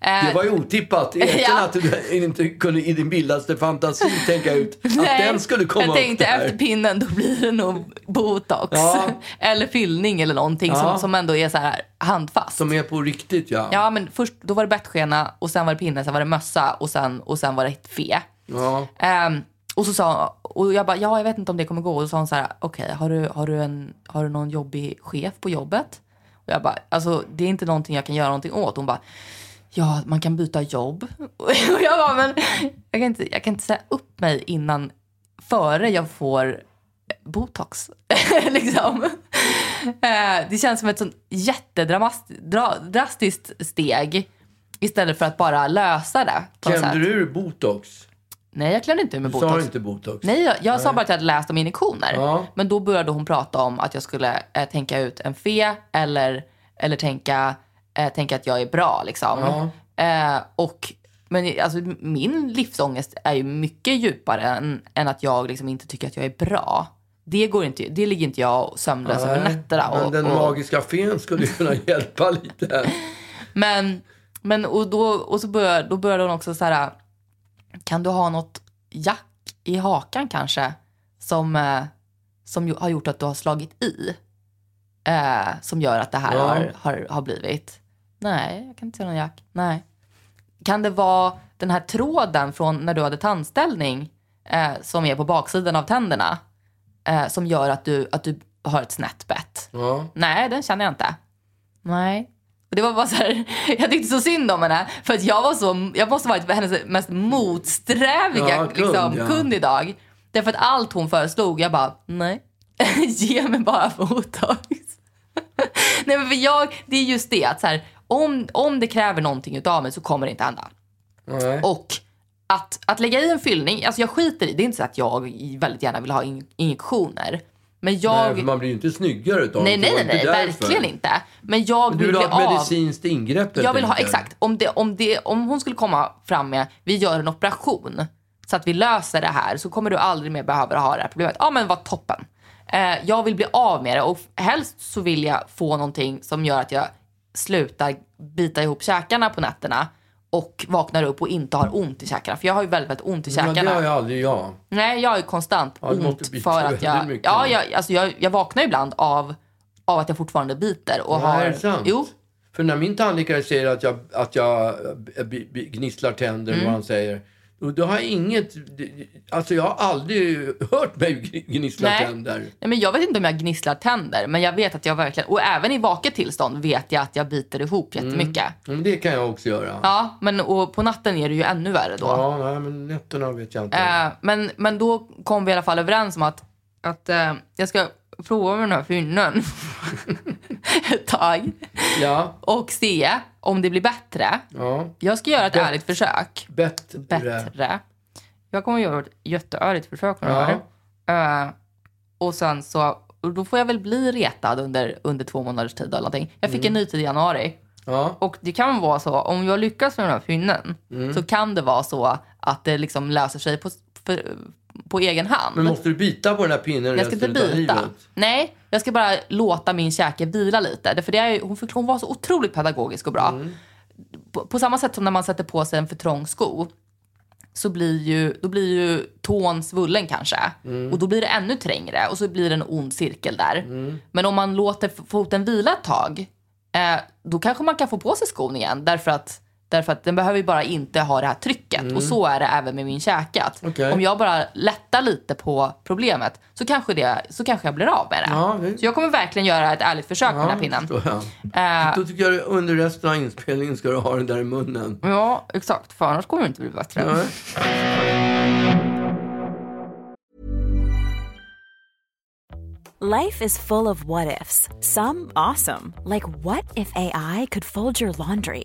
Speaker 1: Eh,
Speaker 2: Det var ju otippat. Erkänn
Speaker 1: Ja.
Speaker 2: att du inte kunde i din vildaste fantasi tänka ut att
Speaker 1: <laughs> Eh, nej,
Speaker 2: den skulle komma
Speaker 1: jag tänkte
Speaker 2: upp där.
Speaker 1: efter pinnen då blir det nog botox
Speaker 2: Ja.
Speaker 1: <laughs> eller fyllning eller någonting som,
Speaker 2: Ja.
Speaker 1: som ändå är så här handfast.
Speaker 2: Som är på riktigt, ja.
Speaker 1: Ja, men först då var det bettskena och sen var det pinne, sen var det mössa och sen, och sen var det fe.
Speaker 2: ja.
Speaker 1: Ehm, och så sa hon- och jag bara, ja jag vet inte om det kommer gå. Och så sa hon så här, okej har, du, har, du en- har du någon jobbig chef på jobbet? Och jag bara, alltså det är inte någonting jag kan göra någonting åt. Hon bara, ja man kan byta jobb. <laughs> Och jag bara, men jag kan inte, jag kan inte säga upp mig innan, före jag får botox. <laughs> liksom. Eh, det känns som ett sånt jättedrastiskt steg istället för att bara lösa det. på något
Speaker 2: Kände
Speaker 1: sätt.
Speaker 2: du botox?
Speaker 1: Nej, jag klämde inte ur med
Speaker 2: Du sa
Speaker 1: botox.
Speaker 2: inte botox.
Speaker 1: Nej, jag, jag sa bara att jag hade läst om injektioner.
Speaker 2: Ja.
Speaker 1: Men då började hon prata om att jag skulle eh, tänka ut en fe eller, eller tänka, eh, tänka att jag är bra. Liksom. Eh, och, men alltså, min livsångest är ju mycket djupare än, än att jag liksom inte tycker att jag är bra. Det, går inte, det ligger inte jag sömnlös
Speaker 2: Nej,
Speaker 1: över alltså, nätterna.
Speaker 2: Men
Speaker 1: och-
Speaker 2: den
Speaker 1: och-
Speaker 2: magiska fen skulle ju kunna <laughs> hjälpa lite här.
Speaker 1: Men, men och då, och så började, då började hon också så här, kan du ha något jack i hakan kanske som, eh, som ju- har gjort att du har slagit i? Eh, som gör att det här
Speaker 2: Ja.
Speaker 1: har, har, har blivit. Nej, jag kan inte se någon jack. Nej. Kan det vara den här tråden från när du hade tandställning eh, som är på baksidan av tänderna eh, som gör att du, att du har ett snett bett?
Speaker 2: Ja.
Speaker 1: Nej, den känner jag inte. Nej. Och det var bara så här, <laughs> jag tyckte så synd om henne. För att jag var så, jag måste ha varit hennes mest motsträviga
Speaker 2: Ja,
Speaker 1: kund,
Speaker 2: kund,
Speaker 1: liksom,
Speaker 2: ja.
Speaker 1: kund idag. Därför att allt hon föreslog, jag bara, nej. <laughs> Ge mig bara botox. <laughs> nej men för jag, det är just det att så här, om, om det kräver någonting utav mig så kommer det inte hända.
Speaker 2: Nej.
Speaker 1: Och att, att lägga i en fyllning, alltså jag skiter i, det är inte så att jag väldigt gärna vill ha in, injektioner. Men jag...
Speaker 2: Nej, för man blir ju inte snyggare utav
Speaker 1: Nej,
Speaker 2: det.
Speaker 1: nej,
Speaker 2: Det var
Speaker 1: nej, nej
Speaker 2: inte därför.
Speaker 1: verkligen inte. Men jag
Speaker 2: Du
Speaker 1: vill
Speaker 2: vill ha
Speaker 1: bli
Speaker 2: ett
Speaker 1: av.
Speaker 2: medicinskt ingrepp helt
Speaker 1: Jag vill ha,
Speaker 2: enkelt.
Speaker 1: exakt. Om, det, om, det, om hon skulle komma fram med, vi gör en operation så att vi löser det här så kommer du aldrig mer behöva ha det här problemet. Ja men vad toppen. Eh, jag vill bli av med det och helst så vill jag få någonting som gör att jag slutar bita ihop käkarna på nätterna och vaknar upp och inte har ont i käkarna. För jag har ju väldigt, väldigt ont i
Speaker 2: Ja, det
Speaker 1: käkarna.
Speaker 2: har ju aldrig jag.
Speaker 1: Nej, jag är konstant
Speaker 2: Ja, du måste
Speaker 1: ont
Speaker 2: bita
Speaker 1: för att
Speaker 2: väldigt
Speaker 1: jag...
Speaker 2: mycket.
Speaker 1: Ja, jag, alltså jag, jag vaknar ibland av, av att jag fortfarande biter. Och har,
Speaker 2: Ja, är det sant?
Speaker 1: Jo.
Speaker 2: För när min tandläkare säger att jag, att jag b- b- gnisslar tänder,
Speaker 1: Mm.
Speaker 2: vad han säger, och då har jag inget... Alltså jag har aldrig hört mig gn- gnissla
Speaker 1: Nej.
Speaker 2: tänder.
Speaker 1: Nej, men jag vet inte om jag gnisslar tänder, men jag vet att jag verkligen... Och även i vaket tillstånd vet jag att jag biter ihop
Speaker 2: Mm.
Speaker 1: jättemycket.
Speaker 2: Men det kan jag också göra.
Speaker 1: Ja, men och på natten är det ju ännu värre då.
Speaker 2: Ja, nej, men nätterna vet jag inte.
Speaker 1: Eh, men, men då kom vi i alla fall överens om att, att eh, jag ska prova med den här fynnen <laughs> ett tag
Speaker 2: Ja,
Speaker 1: och se om det blir bättre.
Speaker 2: ja.
Speaker 1: Jag ska göra ett
Speaker 2: Bättre.
Speaker 1: ärligt försök.
Speaker 2: Bättre.
Speaker 1: bättre. Jag kommer göra ett jätteärligt försök med
Speaker 2: Ja.
Speaker 1: det här. Eh, och sen så, och då får jag väl bli retad under, under två månaders tid eller någonting. Jag fick en ny tid i januari.
Speaker 2: Ja,
Speaker 1: Och det kan vara så, om jag lyckas med den här fynden, så kan det vara så att det liksom löser sig på, för, på egen hand.
Speaker 2: men måste du bita på den här pinnen
Speaker 1: jag ska inte
Speaker 2: resten utav
Speaker 1: bita.
Speaker 2: livet?
Speaker 1: Nej, jag ska bara låta min käke vila lite. Därför det är, ju- hon, förklar- hon var så otroligt pedagogisk och bra. På, på samma sätt som när man sätter på sig en för trång sko så blir ju, då blir ju tån svullen kanske. Och då blir det ännu trängre och så blir det en ond cirkel där. Men om man låter f- foten vila ett tag, eh, då kanske man kan få på sig skon igen. Därför att, därför att den behöver ju bara inte ha det här trycket. Och så är det även med min käke. att
Speaker 2: Okej.
Speaker 1: Om jag bara lättar lite på problemet så kanske, det, så kanske jag blir av med det.
Speaker 2: Ja, det-
Speaker 1: Så jag kommer verkligen göra ett ärligt försök med den här
Speaker 2: Ja,
Speaker 1: pinnen.
Speaker 2: förstår jag.
Speaker 1: Eh,
Speaker 2: Då tycker jag under resten av inspelningen ska du ha den där i munnen.
Speaker 1: ja, exakt. För annars kommer det inte bli bättre.
Speaker 2: Nej.
Speaker 3: Life is full of what ifs. Some awesome, like what if AI could fold your laundry?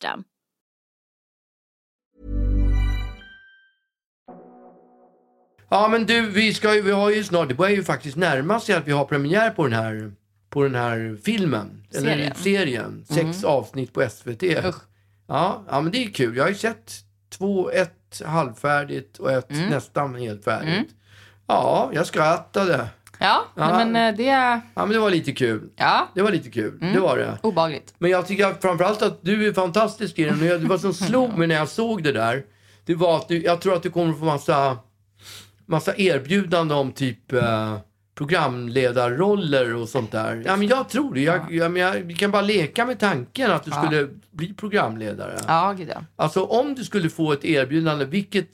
Speaker 2: Ja, men du, vi, ska, ju- vi har ju snart, det börjar ju faktiskt närma sig att vi har premiär på den här, på den här filmen. Eller
Speaker 1: Serien. Mm.
Speaker 2: serien. Sex avsnitt på SVT.
Speaker 1: Usch.
Speaker 2: Ja, ja, men det är kul. Jag har ju sett två, ett halvfärdigt och ett
Speaker 1: Mm.
Speaker 2: nästan helt färdigt. Ja, jag skrattade.
Speaker 1: Ja, Nej, men eh, det...
Speaker 2: Ja, men det var lite kul.
Speaker 1: Ja, Mm.
Speaker 2: Det var lite kul. Det var det.
Speaker 1: obehagligt.
Speaker 2: Men jag tycker framförallt att du är fantastisk i den. Och jag- Det var
Speaker 1: <laughs>
Speaker 2: som slog mig när jag såg det där. Det var att du, jag tror att du kommer få massa, massa erbjudanden om typ eh, programledarroller och sånt där. Ja, men jag tror det. Jag, jag, men jag, vi kan bara leka med tanken att du skulle bli programledare.
Speaker 1: Ja, gud ja.
Speaker 2: Alltså om du skulle få ett erbjudande, vilket,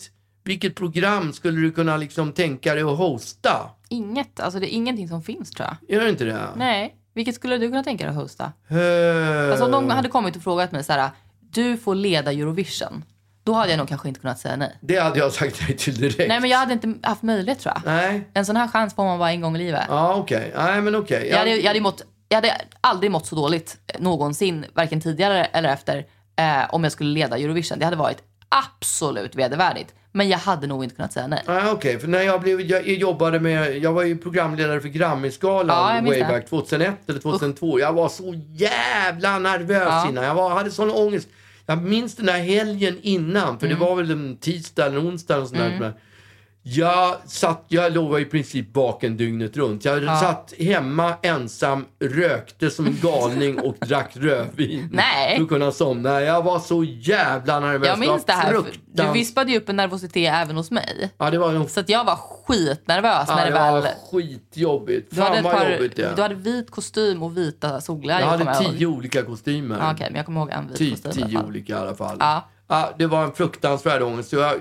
Speaker 2: vilket program skulle du kunna liksom tänka dig att hosta?
Speaker 1: Inget, alltså det är ingenting som finns tror jag.
Speaker 2: Gör du inte det?
Speaker 1: Nej. Vilket skulle du kunna tänka dig att hosta?
Speaker 2: Eh,
Speaker 1: Alltså om någon hade kommit och frågat mig så här, du får leda Eurovision. Då hade jag nog kanske inte kunnat säga nej.
Speaker 2: Det hade jag sagt nej till direkt.
Speaker 1: Nej men jag hade inte haft möjlighet tror jag.
Speaker 2: Nej.
Speaker 1: En sån här chans får man bara en gång i livet.
Speaker 2: Ja, okej. Nej, men okej.
Speaker 1: Jag hade, jag, hade mått, jag hade aldrig mått så dåligt eh, någonsin, varken tidigare eller efter, eh, om jag skulle leda Eurovision. Det hade varit absolut vedervärdigt. Men jag hade nog inte kunnat säga nej.
Speaker 2: Nej, okej. För när jag, blev, jag jobbade med... Jag var ju programledare för
Speaker 1: Ja,
Speaker 2: Grammisgalan
Speaker 1: jag minns
Speaker 2: way
Speaker 1: det.
Speaker 2: back 2001 eller 2002. Jag var så jävla nervös innan. Jag var, hade sån ångest. Jag minns den där helgen innan, för det
Speaker 1: Mm.
Speaker 2: var väl en tisdag eller onsdag eller sånt där. Jag, satt, jag låg i princip vaken dygnet runt. Jag satt hemma ensam, rökte som en galning
Speaker 1: <laughs>
Speaker 2: och drack rödvin.
Speaker 1: Nej.
Speaker 2: För att kunna somna. Jag var så jävla nervös.
Speaker 1: Jag minns det
Speaker 2: var
Speaker 1: här. för Du
Speaker 2: fruktansvärt-
Speaker 1: vispade ju upp en nervositet även hos mig.
Speaker 2: Ja, det var nog
Speaker 1: Så att jag var skitnervös när det
Speaker 2: var
Speaker 1: väl...
Speaker 2: skitjobbigt.
Speaker 1: Du hade,
Speaker 2: Fan
Speaker 1: ett
Speaker 2: vad
Speaker 1: par,
Speaker 2: jobbigt det är.
Speaker 1: du hade vit kostym och vita solglasögon.
Speaker 2: Jag
Speaker 1: kommer
Speaker 2: hade
Speaker 1: ihåg.
Speaker 2: tio olika kostymer.
Speaker 1: Ja, Okej, men jag kommer ihåg en vit
Speaker 2: Typ
Speaker 1: kostym. i alla
Speaker 2: tio
Speaker 1: fall.
Speaker 2: olika i alla fall.
Speaker 1: Ja.
Speaker 2: det var en fruktansvärd ångest. Så jag,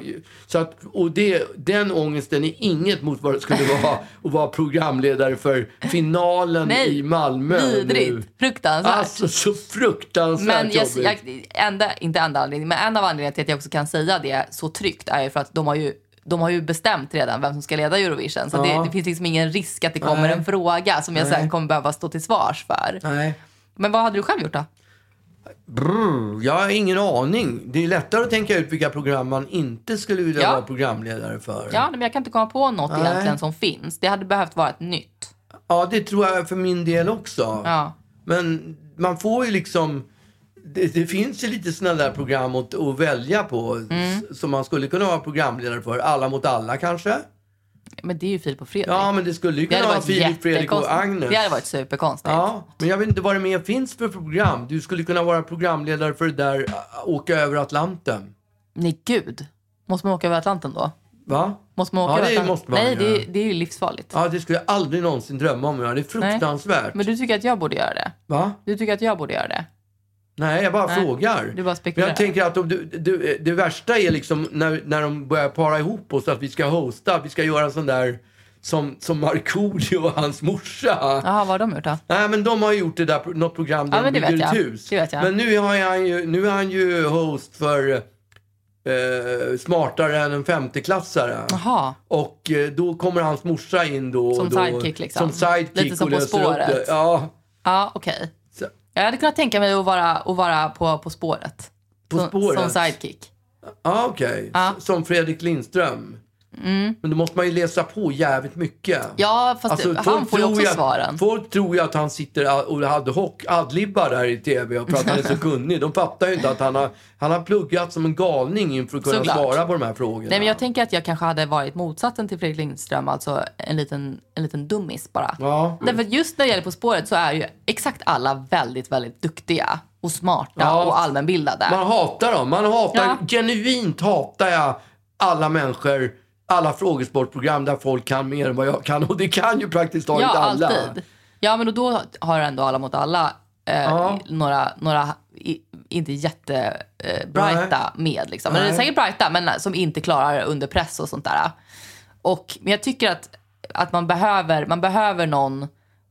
Speaker 2: så att, och det, den ångesten är inget mot vad det skulle vara att vara programledare för finalen
Speaker 1: Nej,
Speaker 2: i Malmö. nu.
Speaker 1: Vidrigt. Fruktansvärt.
Speaker 2: Alltså så fruktansvärt
Speaker 1: Men jag,
Speaker 2: jobbigt.
Speaker 1: jag, enda, inte enda anledningen, men en av anledningarna till att jag också kan säga det så tryggt är ju för att de har ju, de har ju bestämt redan vem som ska leda Eurovision. Så
Speaker 2: Ja.
Speaker 1: det, det finns liksom ingen risk att det kommer
Speaker 2: Nej.
Speaker 1: en fråga som jag sen kommer behöva stå till svars för.
Speaker 2: Nej.
Speaker 1: Men vad hade du själv gjort då?
Speaker 2: Brr, jag har ingen aning. Det är lättare att tänka ut vilka program man inte skulle vilja
Speaker 1: Ja.
Speaker 2: vara programledare för.
Speaker 1: Ja, nej, men jag kan inte komma på något
Speaker 2: Nej.
Speaker 1: egentligen som finns. Det hade behövt vara ett nytt.
Speaker 2: Ja, det tror jag för min del också.
Speaker 1: Ja.
Speaker 2: Men man får ju liksom... Det, det finns ju lite sådana där program att, att välja på
Speaker 1: Mm.
Speaker 2: s- som man skulle kunna vara programledare för. Alla mot alla kanske?
Speaker 1: Men det är ju Filip och Fredrik.
Speaker 2: Ja, men det skulle ju
Speaker 1: det
Speaker 2: kunna vara
Speaker 1: hade varit
Speaker 2: Filip, Fredrik och
Speaker 1: jättekonstigt.
Speaker 2: Agnes.
Speaker 1: Det hade varit superkonstigt.
Speaker 2: Ja, men jag vet inte vad det mer finns för program. Du skulle kunna vara programledare för det där ä, Åka över Atlanten.
Speaker 1: Nej, gud. Måste man åka över Atlanten då?
Speaker 2: Va?
Speaker 1: Måste man åka
Speaker 2: Ja,
Speaker 1: över
Speaker 2: det
Speaker 1: Atlanten?
Speaker 2: måste man
Speaker 1: Nej, det,
Speaker 2: göra.
Speaker 1: det är ju livsfarligt.
Speaker 2: Ja, det skulle jag aldrig någonsin drömma om att göra. Det är fruktansvärt.
Speaker 1: Men du tycker att jag borde göra det?
Speaker 2: Va?
Speaker 1: Du tycker att jag borde göra det?
Speaker 2: Nej, jag bara
Speaker 1: Nej,
Speaker 2: frågar.
Speaker 1: du bara
Speaker 2: Men
Speaker 1: spekulerar.
Speaker 2: jag tänker att om du, du, det värsta är liksom när, när de börjar para ihop oss, att vi ska hosta, att vi ska göra en sån där som, som Markoolio och hans morsa.
Speaker 1: Jaha, vad har de gjort då?
Speaker 2: Nej, men de har ju gjort det där, något program där
Speaker 1: Ja,
Speaker 2: de
Speaker 1: men det
Speaker 2: bygger
Speaker 1: vet
Speaker 2: ett
Speaker 1: jag.
Speaker 2: hus.
Speaker 1: Det vet jag.
Speaker 2: Men nu, har han ju, nu är han ju host för eh, Smartare än en femteklassare.
Speaker 1: Jaha.
Speaker 2: Och eh, då kommer hans morsa in då. och
Speaker 1: Som
Speaker 2: då,
Speaker 1: sidekick, liksom.
Speaker 2: Som sidekick
Speaker 1: Lite som
Speaker 2: och
Speaker 1: På
Speaker 2: löser upp
Speaker 1: spåret.
Speaker 2: det. Ja,
Speaker 1: Ja, okej.
Speaker 2: Så-
Speaker 1: Jag hade kunnat tänka mig att vara, att vara på, på spåret.
Speaker 2: På
Speaker 1: som,
Speaker 2: spåret.
Speaker 1: Som sidekick.
Speaker 2: Ja, okej. S- Som Fredrik Lindström. Men då måste man ju läsa på jävligt mycket.
Speaker 1: Mm. Ja, fast
Speaker 2: Alltså,
Speaker 1: han
Speaker 2: folk
Speaker 1: får ju
Speaker 2: tror
Speaker 1: också
Speaker 2: ju att-
Speaker 1: svaren.
Speaker 2: Folk tror ju att han sitter och hade hock, adlibbar där i tv och för
Speaker 1: <laughs>
Speaker 2: att han är så kunnig. De fattar ju inte att han har, han har pluggat som en galning inför att kunna
Speaker 1: Såklart.
Speaker 2: svara på de här frågorna.
Speaker 1: Nej, men jag tänker att jag kanske hade varit motsatsen till Fredrik Lindström, alltså en liten, en liten dummis bara.
Speaker 2: Ja.
Speaker 1: Därför att just när det gäller På spåret så är ju exakt alla väldigt, väldigt duktiga och smarta
Speaker 2: Ja.
Speaker 1: och allmänbildade.
Speaker 2: Man hatar dem. Man hatar,
Speaker 1: Ja.
Speaker 2: Genuint hatar jag alla människor, alla frågesportprogram där folk kan mer än vad jag kan. Och det kan ju praktiskt taget
Speaker 1: Ja,
Speaker 2: alla.
Speaker 1: alltid. Ja, men och då har ändå Alla mot alla eh,
Speaker 2: Ja.
Speaker 1: några, några i, inte jättebrighta eh, brighta med. Liksom. Men det är
Speaker 2: Nej.
Speaker 1: säkert brighta, men eh, som inte klarar under press och sånt där. Och, men jag tycker att, att man, behöver, man behöver någon,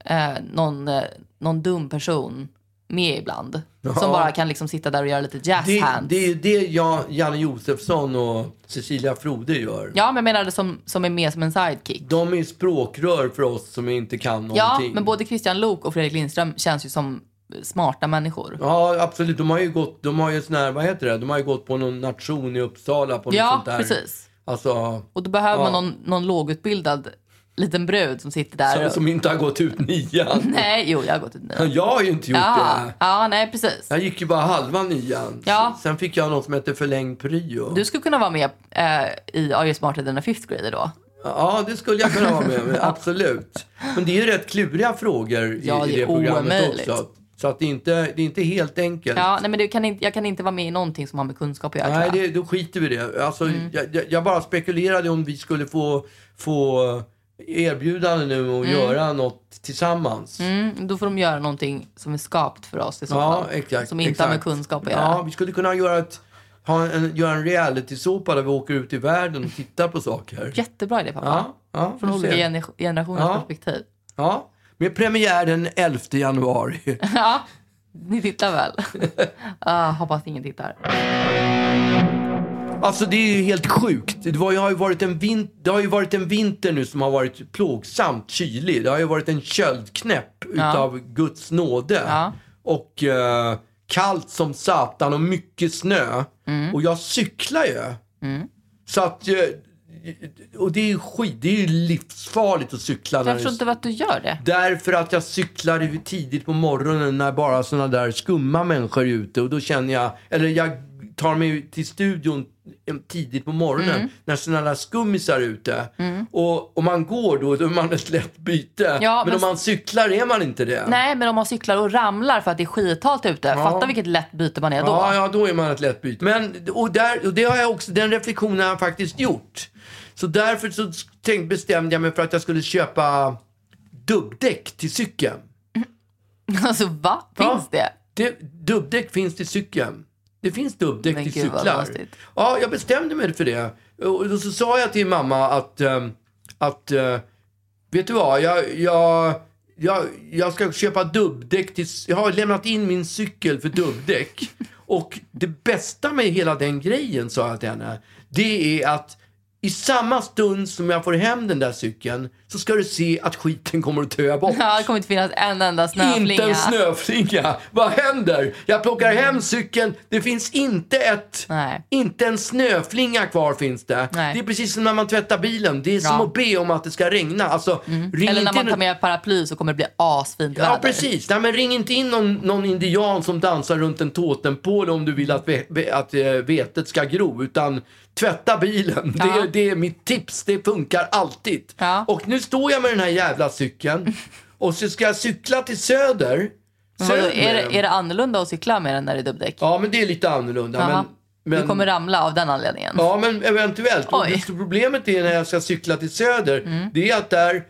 Speaker 1: eh, någon, eh, någon dum person med ibland. Som bara kan liksom sitta där och göra lite jazz
Speaker 2: Det,
Speaker 1: hands.
Speaker 2: det är ju det jag, Janne Josefsson och Cecilia Frode gör.
Speaker 1: Ja, men jag menar det som, som är med som en sidekick.
Speaker 2: De är språkrör för oss som inte kan
Speaker 1: Ja,
Speaker 2: någonting.
Speaker 1: men både Christian Lok och Fredrik Lindström känns ju som smarta människor.
Speaker 2: Ja, absolut. De har ju gått, de har ju sån här, vad heter det? De har ju gått på någon nation i Uppsala på något
Speaker 1: Ja,
Speaker 2: sånt liksom där.
Speaker 1: precis.
Speaker 2: Alltså,
Speaker 1: Och då behöver man
Speaker 2: Ja.
Speaker 1: någon, någon lågutbildad liten brud som sitter där.
Speaker 2: som, liksom-
Speaker 1: och,
Speaker 2: som inte har gått ut nian.
Speaker 1: Nej, jo, jag har gått ut nian.
Speaker 2: Jag har ju inte gjort
Speaker 1: Ja,
Speaker 2: det.
Speaker 1: ja, nej precis.
Speaker 2: Jag gick ju bara halva nian.
Speaker 1: Ja.
Speaker 2: Sen fick jag något som hette förlängd pryo.
Speaker 1: Du skulle kunna vara med eh, i Are you smarter than a fifth grader då?
Speaker 2: Ja, det skulle jag kunna vara
Speaker 1: <laughs>
Speaker 2: med om. Absolut. Men det är ju rätt kluriga frågor i,
Speaker 1: Ja, det
Speaker 2: i
Speaker 1: är
Speaker 2: det programmet
Speaker 1: omöjligt.
Speaker 2: också. Så att det, är inte, det är inte helt enkelt.
Speaker 1: Ja, nej, men du kan inte, jag kan inte vara med i någonting som har med kunskap att göra.
Speaker 2: Nej,
Speaker 1: tror jag.
Speaker 2: det, då skiter vi i det. Alltså,
Speaker 1: Mm.
Speaker 2: jag, jag- jag bara spekulerade om vi skulle få, få erbjudande nu och göra något tillsammans.
Speaker 1: mm, då får de göra någonting som är skapat för oss i så
Speaker 2: Ja,
Speaker 1: fall.
Speaker 2: exakt.
Speaker 1: som inte
Speaker 2: exakt.
Speaker 1: har med kunskap att göra.
Speaker 2: Ja, vi skulle kunna göra, ett, ha en, göra en reality-såpa där vi åker ut i världen och tittar på saker.
Speaker 1: Jättebra idé pappa.
Speaker 2: Ja, ja,
Speaker 1: Från
Speaker 2: du
Speaker 1: olika
Speaker 2: ser.
Speaker 1: gener- generationers
Speaker 2: Ja.
Speaker 1: perspektiv.
Speaker 2: ja, med premiär den 11 januari.
Speaker 1: Ja, ni
Speaker 2: <laughs>
Speaker 1: tittar väl? Ah, hoppas ingen tittar.
Speaker 2: Alltså det är ju helt sjukt. Det, var, jag har ju varit en vin, det har ju varit en vinter nu som har varit plågsamt kylig. Det har ju varit en köldknäpp utav Guds nåde.
Speaker 1: Ja.
Speaker 2: Och eh, kallt som satan och mycket snö.
Speaker 1: Mm.
Speaker 2: Och jag cyklar ju. Så att... eh, och det är ju skit, det är ju livsfarligt att cykla. när
Speaker 1: Jag
Speaker 2: det-
Speaker 1: förstår inte att du gör det.
Speaker 2: Därför att jag cyklar i- tidigt på morgonen när bara såna där skumma människor är ute. Och då känner jag, eller jag tar mig till studion em, tidigt på morgonen
Speaker 1: Mm.
Speaker 2: när såna där skummisar är ute. Och om man går då, då är man ett lätt byte.
Speaker 1: Ja,
Speaker 2: men,
Speaker 1: men-
Speaker 2: om man cyklar är man inte det.
Speaker 1: Nej, men om man cyklar och ramlar för att det är skithalt ute. Fatta vilket lätt byte man är då.
Speaker 2: Ja, ja, då är man ett lätt byte. Men, och, där, och det har jag också, den reflektionen har jag faktiskt gjort. Så därför så tänk, bestämde jag mig för att jag skulle köpa dubbdäck till cykeln.
Speaker 1: <laughs> Alltså va? Finns det?
Speaker 2: Det, dubbdäck finns till cykeln. Det finns dubbdäck
Speaker 1: Men
Speaker 2: till
Speaker 1: gud, vad
Speaker 2: cyklar.
Speaker 1: konstigt.
Speaker 2: Ja, jag bestämde mig för det. Och då så sa jag till mamma att, ehm, att eh, vet du vad, jag, jag, jag, jag ska köpa dubbdäck till, jag har lämnat in min cykel för
Speaker 1: <laughs>
Speaker 2: dubbdäck. Och det bästa med hela den grejen, sa jag till henne, det är att i samma stund som jag får hem den där cykeln så ska du se att skiten kommer att töa bort.
Speaker 1: Ja, det kommer inte finnas en enda snöflinga. Mm.
Speaker 2: Inte en snöflinga. Vad händer? Jag plockar hem cykeln. Det finns inte ett...
Speaker 1: Nej.
Speaker 2: Inte en snöflinga kvar finns det.
Speaker 1: Nej.
Speaker 2: Det är precis som när man tvättar bilen. Det är som
Speaker 1: Ja. Mm.
Speaker 2: att be om att det ska regna. Alltså, ring
Speaker 1: Eller när
Speaker 2: inte
Speaker 1: man tar
Speaker 2: in-
Speaker 1: med paraply så kommer det bli asfint
Speaker 2: Ja,
Speaker 1: väder.
Speaker 2: precis. Nej, men ring inte in någon, någon indian som dansar runt en totempåle om du vill att, ve- ve- att eh, vetet ska gro. Utan tvätta bilen. Det, är- det är mitt tips. Det funkar alltid.
Speaker 1: Ja.
Speaker 2: Och nu står jag med den här jävla cykeln. Och så ska jag cykla till söder.
Speaker 1: Men vadå,
Speaker 2: Söder
Speaker 1: är,
Speaker 2: med den.
Speaker 1: det, är det annorlunda att cykla med den när det är dubbdäck?
Speaker 2: Ja, men det är lite annorlunda.
Speaker 1: Jaha.
Speaker 2: Men, men,
Speaker 1: Du kommer ramla av den anledningen.
Speaker 2: Ja, men eventuellt. Och
Speaker 1: Oj. Mm.
Speaker 2: det stora problemet är när jag ska cykla till söder, det är att där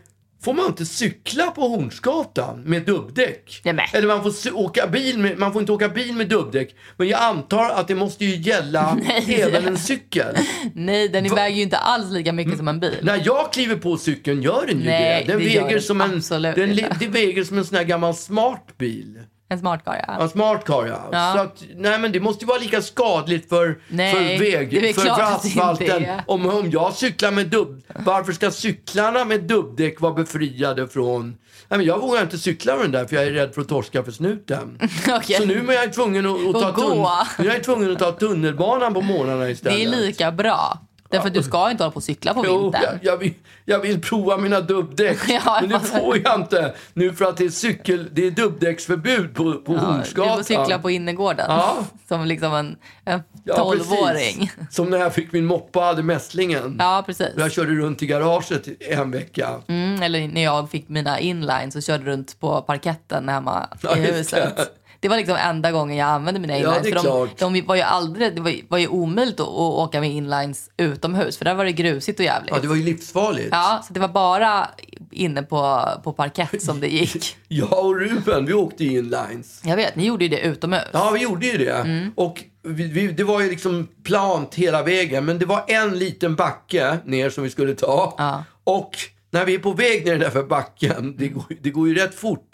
Speaker 2: får man inte cykla på Hornsgatan med dubbdäck.
Speaker 1: Nämen.
Speaker 2: Eller man får, cy- åka bil med, man får inte åka bil med dubbdäck. Men jag antar att det måste ju
Speaker 1: <laughs>
Speaker 2: gälla även en cykel.
Speaker 1: Nej, den väger ju inte alls lika mycket som en bil.
Speaker 2: När jag kliver på cykeln gör den ju
Speaker 1: Nej,
Speaker 2: det. Den
Speaker 1: det gör
Speaker 2: väger
Speaker 1: den
Speaker 2: som en,
Speaker 1: absolut
Speaker 2: den, li-
Speaker 1: inte.
Speaker 2: det väger som en sån här gammal smart bil.
Speaker 1: En smart car, ja.
Speaker 2: Ja, smart car ja.
Speaker 1: Ja.
Speaker 2: Så att, nej men det måste ju vara lika skadligt för,
Speaker 1: Nej,
Speaker 2: för
Speaker 1: det är
Speaker 2: väg, för,
Speaker 1: klart
Speaker 2: för
Speaker 1: att det inte
Speaker 2: asfalten.
Speaker 1: är.
Speaker 2: Om, om jag cyklar med dubb... Varför ska cyklarna med dubbdäck vara befriade från... Nej men jag vågar inte cykla med den där för jag är rädd för att torska för snuten.
Speaker 1: <laughs> Okej.
Speaker 2: Så nu är jag tvungen att, att,
Speaker 1: Och
Speaker 2: ta, tun-
Speaker 1: gå.
Speaker 2: nu är jag tvungen att ta tunnelbanan på morgnarna istället.
Speaker 1: Det är lika bra. Därför att du ska inte hålla på och cykla på
Speaker 2: Jo, jag,
Speaker 1: vintern.
Speaker 2: jag, vill, jag vill prova mina dubbdäck,
Speaker 1: <laughs> Ja, jag
Speaker 2: men det
Speaker 1: fattar.
Speaker 2: får jag inte nu för att det är, cykel, det är dubbdäcksförbud på, på
Speaker 1: Ja, Du
Speaker 2: Hornsgatan.
Speaker 1: får cykla på innergården.
Speaker 2: Ja.
Speaker 1: Som liksom en, en
Speaker 2: Ja, precis.
Speaker 1: 12-åring.
Speaker 2: Som när jag fick min moppe och hade mässlingen.
Speaker 1: Ja, precis.
Speaker 2: Jag körde runt i garaget i en vecka.
Speaker 1: Mm, eller när jag fick mina inlines och körde runt på parketten hemma
Speaker 2: Ja,
Speaker 1: i
Speaker 2: just
Speaker 1: huset.
Speaker 2: det.
Speaker 1: Det. var liksom enda gången jag använde mina
Speaker 2: Ja,
Speaker 1: inlines.
Speaker 2: det är
Speaker 1: för
Speaker 2: klart.
Speaker 1: de, de var ju aldrig, det var, ju- var ju omöjligt att, att åka med inlines utomhus för där var det grusigt och jävligt.
Speaker 2: Ja, det var ju livsfarligt.
Speaker 1: Ja, så det var bara inne på, på parkett som
Speaker 2: <laughs>
Speaker 1: det gick.
Speaker 2: Jag och Ruben, vi åkte inlines.
Speaker 1: Jag vet, ni gjorde ju det utomhus.
Speaker 2: Ja, vi gjorde ju det.
Speaker 1: Mm.
Speaker 2: Och vi, vi, det var ju liksom plant hela vägen. Men det var en liten backe ner som vi skulle ta. Och när vi är på väg ner den där för backen, det går, det går ju rätt fort.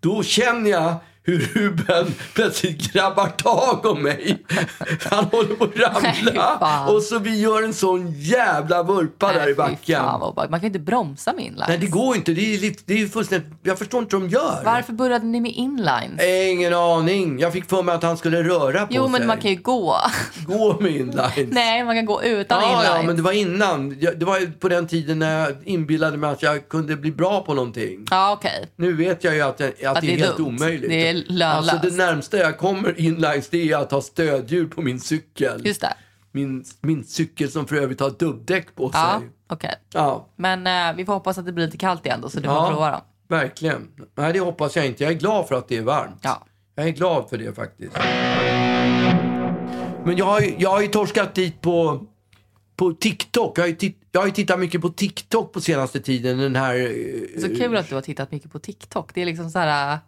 Speaker 2: Då känner jag hur Ruben <laughs> plötsligt grabbar tag om mig. <laughs> Han håller på att
Speaker 1: Nej, fy
Speaker 2: ramla.
Speaker 1: fan.
Speaker 2: och så vi gör en sån jävla vurpa där i
Speaker 1: Fy
Speaker 2: backen.
Speaker 1: fan vad obehagligt. Man kan ju inte bromsa med inlines.
Speaker 2: Nej, det går inte. Det är, lite, det är fullständigt... Jag förstår inte hur de gör.
Speaker 1: Varför började ni med inlines?
Speaker 2: Ingen aning. Jag fick för mig att han skulle röra på
Speaker 1: jo,
Speaker 2: sig.
Speaker 1: men man kan ju gå. <laughs>
Speaker 2: Gå med inlines.
Speaker 1: Nej, man kan gå utan
Speaker 2: ja,
Speaker 1: inlines.
Speaker 2: ja, men det var innan. Jag- Det var ju på den tiden när jag inbillade mig att jag kunde bli bra på någonting.
Speaker 1: Ja, okej.
Speaker 2: Nu vet jag ju att, jag, att, det är helt
Speaker 1: dumt.
Speaker 2: omöjligt.
Speaker 1: Det är lönlöst.
Speaker 2: Alltså det närmsta jag kommer inlines det är att ha stödhjul på min cykel.
Speaker 1: Just det.
Speaker 2: Min, min cykel som för övrigt har dubbdäck på
Speaker 1: Ja,
Speaker 2: sig.
Speaker 1: okej.
Speaker 2: Ja,
Speaker 1: Men eh, vi får hoppas att det blir lite kallt igen då, så du får
Speaker 2: Ja.
Speaker 1: prova dem.
Speaker 2: verkligen. Nej, det hoppas jag inte. Jag är glad för att det är varmt.
Speaker 1: Ja.
Speaker 2: Jag är glad för det faktiskt. Men jag har ju, jag har ju torskat dit på, på TikTok. Jag har, ju titt, jag har ju tittat mycket på TikTok på senaste tiden. Den här... eh,
Speaker 1: Så kul att du har tittat mycket på TikTok. Det är liksom så här... eh,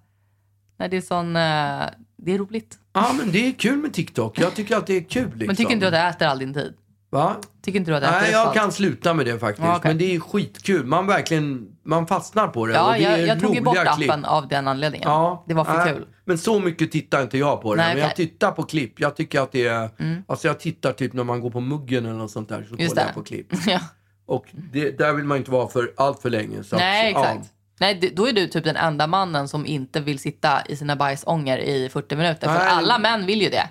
Speaker 1: Nej, det är sån... eh, Det är roligt.
Speaker 2: Ja, men det är kul med TikTok. Jag tycker att det är kul. Liksom.
Speaker 1: Men tycker inte du att det äter all din tid?
Speaker 2: Va?
Speaker 1: Tycker inte du att det äter
Speaker 2: Nej,
Speaker 1: upp
Speaker 2: jag
Speaker 1: allt?
Speaker 2: kan sluta med det faktiskt.
Speaker 1: Ja, okej.
Speaker 2: Men det är skitkul. Man verkligen man fastnar på det. och
Speaker 1: Ja,
Speaker 2: det är
Speaker 1: jag, jag tog ju bort
Speaker 2: roliga
Speaker 1: appen
Speaker 2: klipp.
Speaker 1: av den anledningen.
Speaker 2: Ja,
Speaker 1: Det var för
Speaker 2: nej,
Speaker 1: kul. <laughs>
Speaker 2: Men så mycket tittar inte jag på det.
Speaker 1: Nej,
Speaker 2: men jag
Speaker 1: okej. Mm.
Speaker 2: tittar på klipp. Jag tycker att det är... Alltså jag tittar typ när man går på muggen eller något sånt där. Så
Speaker 1: Just
Speaker 2: kollar
Speaker 1: det.
Speaker 2: jag på klipp.
Speaker 1: Ja.
Speaker 2: Och det, där vill man inte vara för allt för länge. Så att,
Speaker 1: Nej,
Speaker 2: ja.
Speaker 1: exakt. Nej, d- då är du typ den enda mannen som inte vill sitta i sina bajsånger i 40 minuter. För
Speaker 2: Nej. Mm.
Speaker 1: alla män vill ju det.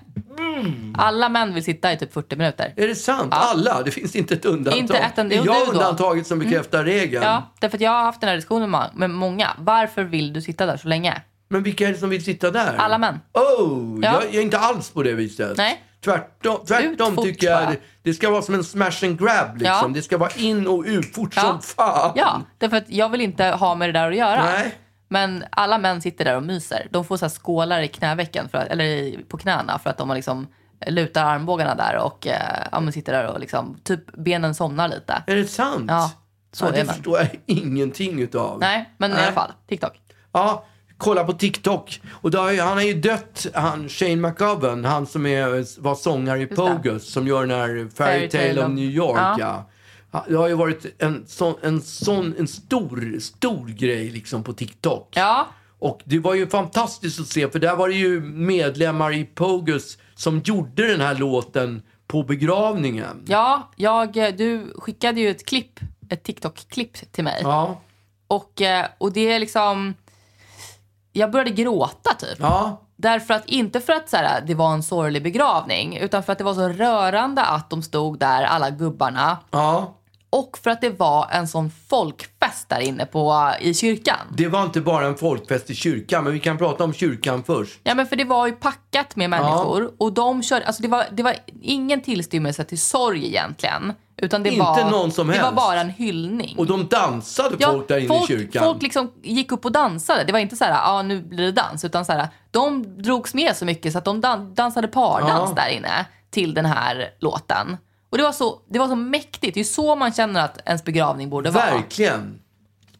Speaker 1: Alla män vill sitta i typ 40 minuter.
Speaker 2: Är det sant? Alla? Det finns inte ett undantag.
Speaker 1: Inte ett enda-
Speaker 2: Är
Speaker 1: jo,
Speaker 2: jag
Speaker 1: du då? Mm.
Speaker 2: undantaget som bekräftar regeln?
Speaker 1: Ja, därför att jag har haft den här diskussionen med ma- med många. Varför vill du sitta där så länge?
Speaker 2: Men vilka är det som vill sitta där?
Speaker 1: Alla män.
Speaker 2: Oh,
Speaker 1: Ja.
Speaker 2: jag, jag är inte alls på det viset.
Speaker 1: Nej.
Speaker 2: Tvärtom,
Speaker 1: Ut
Speaker 2: tvärtom
Speaker 1: fort
Speaker 2: tycker jag
Speaker 1: bara.
Speaker 2: det, det ska vara som en smash and grab liksom.
Speaker 1: Ja.
Speaker 2: Det ska vara in och ut fort som fan.
Speaker 1: Ja, därför att jag vill inte ha med det där att göra.
Speaker 2: Mm. Nej.
Speaker 1: Men alla män sitter där och myser. De får så här skålar i knävecken, för att, eller i, på knäna för att de har liksom lutar armbågarna där och eh, ja, men sitter där och liksom, typ benen somnar lite.
Speaker 2: Är det sant?
Speaker 1: Ja, så
Speaker 2: ja,
Speaker 1: är
Speaker 2: det
Speaker 1: man.
Speaker 2: förstår jag ingenting utav.
Speaker 1: Nej, men i
Speaker 2: Nej.
Speaker 1: alla fall. TikTok.
Speaker 2: Ja, kolla på TikTok. Och då har ju, han har ju dött, han Shane McGovern, han som är, var sångare i Pogus, som gör den här Fairy Tale of New York.
Speaker 1: Ja.
Speaker 2: Ja. Ja, Det har ju varit en, sån, en, sån, en stor, stor grej liksom på TikTok.
Speaker 1: Ja,
Speaker 2: Och det var ju fantastiskt att se, för där var det ju medlemmar i Pogus som gjorde den här låten på begravningen.
Speaker 1: ja jag, eh, du skickade ju ett klipp, ett TikTok-klipp till mig.
Speaker 2: Ja,
Speaker 1: Och, eh, och det är liksom... Jag började gråta typ.
Speaker 2: ja,
Speaker 1: Därför att, inte för att så här, det var en sorglig begravning, utan för att det var så rörande att de stod där, alla gubbarna.
Speaker 2: ja.
Speaker 1: Och för att det var en sån folkfest där inne på, i kyrkan.
Speaker 2: Det var inte bara en folkfest i kyrkan, men vi kan prata om kyrkan först.
Speaker 1: Ja men för det var ju packat med människor och de körde, alltså det var, det var ingen tillstymmelse till sorg egentligen. Utan det
Speaker 2: Inte
Speaker 1: var,
Speaker 2: någon som
Speaker 1: Det var
Speaker 2: helst.
Speaker 1: bara en hyllning.
Speaker 2: Och de dansade
Speaker 1: Ja,
Speaker 2: folk där inne
Speaker 1: folk,
Speaker 2: i kyrkan.
Speaker 1: folk liksom gick upp och dansade. Det var inte så här, ja ah, nu blir det dans. Utan så här, de drogs med så mycket så att de dan- dansade pardans
Speaker 2: Ja.
Speaker 1: där inne till den här låten. Och det var, så, det var så mäktigt. Det är så man känner att ens begravning borde vara.
Speaker 2: Verkligen.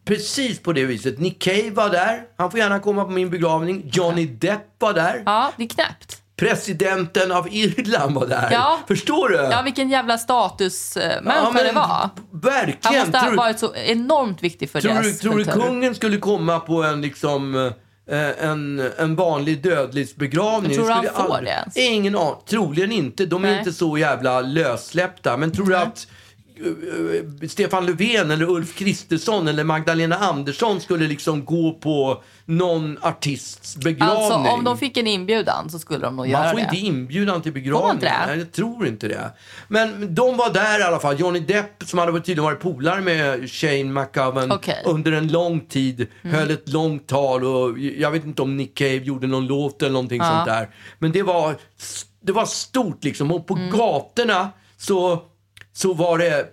Speaker 2: Precis på det viset. Nick Cave var där. Han får gärna komma på min begravning. Johnny Depp var där.
Speaker 1: Ja, det är knäppt.
Speaker 2: Presidenten av Irland var där.
Speaker 1: Ja.
Speaker 2: Förstår du?
Speaker 1: Ja, vilken jävla statusmänniska
Speaker 2: Ja, men
Speaker 1: det var. Han
Speaker 2: Verkligen.
Speaker 1: måste ha
Speaker 2: Tror,
Speaker 1: varit så enormt viktig för
Speaker 2: tror, du,
Speaker 1: deras
Speaker 2: tror du
Speaker 1: kultur.
Speaker 2: kungen skulle komma på en liksom... eh, En, en vanlig dödlig begravning.
Speaker 1: Men tror du han
Speaker 2: Skulle
Speaker 1: får
Speaker 2: aldrig-
Speaker 1: det ens?
Speaker 2: Ingen aning. Troligen inte. De är
Speaker 1: Nej.
Speaker 2: inte så jävla lössläppta. Men tror du att eh, Stefan Löfven eller Ulf Kristersson eller Magdalena Andersson skulle liksom gå på någon artists begravning?
Speaker 1: Alltså om de fick en inbjudan så skulle de nog
Speaker 2: Man
Speaker 1: göra
Speaker 2: får
Speaker 1: det.
Speaker 2: inte inbjudan till
Speaker 1: man inte
Speaker 2: begravningen.
Speaker 1: det?
Speaker 2: Nej, Jag tror inte det. Men de var där i alla fall. Johnny Depp, som hade varit- tydligen varit polare med Shane McGovern
Speaker 1: Okej.
Speaker 2: under en lång tid, höll ett långt tal och jag vet inte om Nick Cave gjorde någon låt eller någonting sånt där. Men det var, det var stort liksom. Och på gatorna så, så var det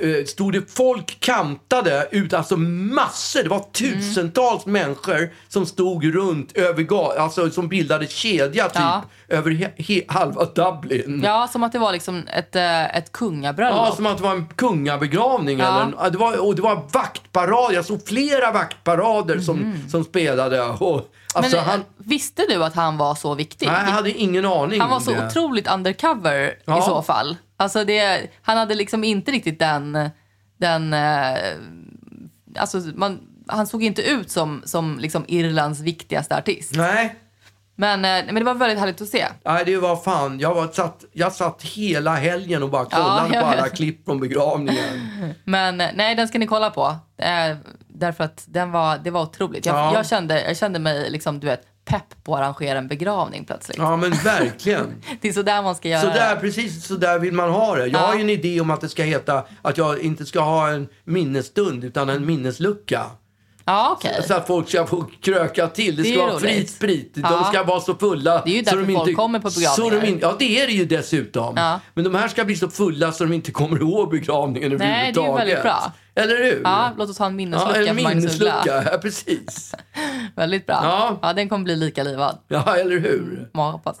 Speaker 2: eh, stod det folk kantade ut, alltså massor, det var tusentals människor som stod runt över ga- alltså som bildade kedja typ
Speaker 1: Ja.
Speaker 2: över he- he- halva Dublin.
Speaker 1: Ja, som att det var liksom ett, eh, ett kungabröllop.
Speaker 2: Ja, som att det var en kungabegravning.
Speaker 1: Ja.
Speaker 2: Eller en, ja, det var, och det var vaktparader. Jag såg flera vaktparader som, som spelade. Och, alltså,
Speaker 1: Mhm. Men
Speaker 2: han,
Speaker 1: eh, visste du att han var så viktig?
Speaker 2: nej, jag hade ingen aning.
Speaker 1: han var
Speaker 2: om
Speaker 1: så
Speaker 2: det.
Speaker 1: otroligt undercover i
Speaker 2: Ja.
Speaker 1: så fall. Alltså det, han hade liksom inte riktigt den... den eh, alltså man, han såg inte ut som, som liksom Irlands viktigaste artist.
Speaker 2: Nej,
Speaker 1: Men, eh, men det var väldigt härligt att se.
Speaker 2: Nej, det var fan. Jag, var satt, jag satt hela helgen och bara kollade
Speaker 1: jag
Speaker 2: på alla
Speaker 1: vet.
Speaker 2: klipp från begravningen.
Speaker 1: Men eh, nej, den ska ni kolla på. Eh, därför att den var, det var otroligt. Jag,
Speaker 2: Ja.
Speaker 1: jag, kände, jag kände mig liksom, du vet, pepp på att arrangera en begravning plötsligt.
Speaker 2: Ja, men
Speaker 1: <laughs>
Speaker 2: verkligen.
Speaker 1: Det är så där man ska göra.
Speaker 2: Så
Speaker 1: det.
Speaker 2: där, precis så där vill man ha det. Jag har ju en idé om att det ska heta att jag inte ska ha en minnesstund utan en minneslucka.
Speaker 1: Ja, okej.
Speaker 2: Så Alltså, att folk ska få kröka till. Det
Speaker 1: Det är
Speaker 2: ska
Speaker 1: ju
Speaker 2: vara fri
Speaker 1: roligt.
Speaker 2: sprit.
Speaker 1: Ja.
Speaker 2: De ska vara så fulla.
Speaker 1: Det är ju
Speaker 2: så
Speaker 1: därför
Speaker 2: de
Speaker 1: folk kommer på
Speaker 2: så de
Speaker 1: begravningar.
Speaker 2: inte, Ja, det är det ju dessutom.
Speaker 1: Ja.
Speaker 2: Men de här ska bli så fulla så de inte kommer ihåg begravningen
Speaker 1: det är ju
Speaker 2: överhuvudtaget.
Speaker 1: väldigt bra.
Speaker 2: Eller hur?
Speaker 1: Ja, låt oss ha en
Speaker 2: Ja,
Speaker 1: minneslucka
Speaker 2: en
Speaker 1: för Magnus Uggla.
Speaker 2: minneslucka. Ja, precis.
Speaker 1: <laughs> Väldigt bra.
Speaker 2: Ja.
Speaker 1: ja, den kommer bli lika livad.
Speaker 2: Ja, eller hur?
Speaker 1: Må jag hoppas.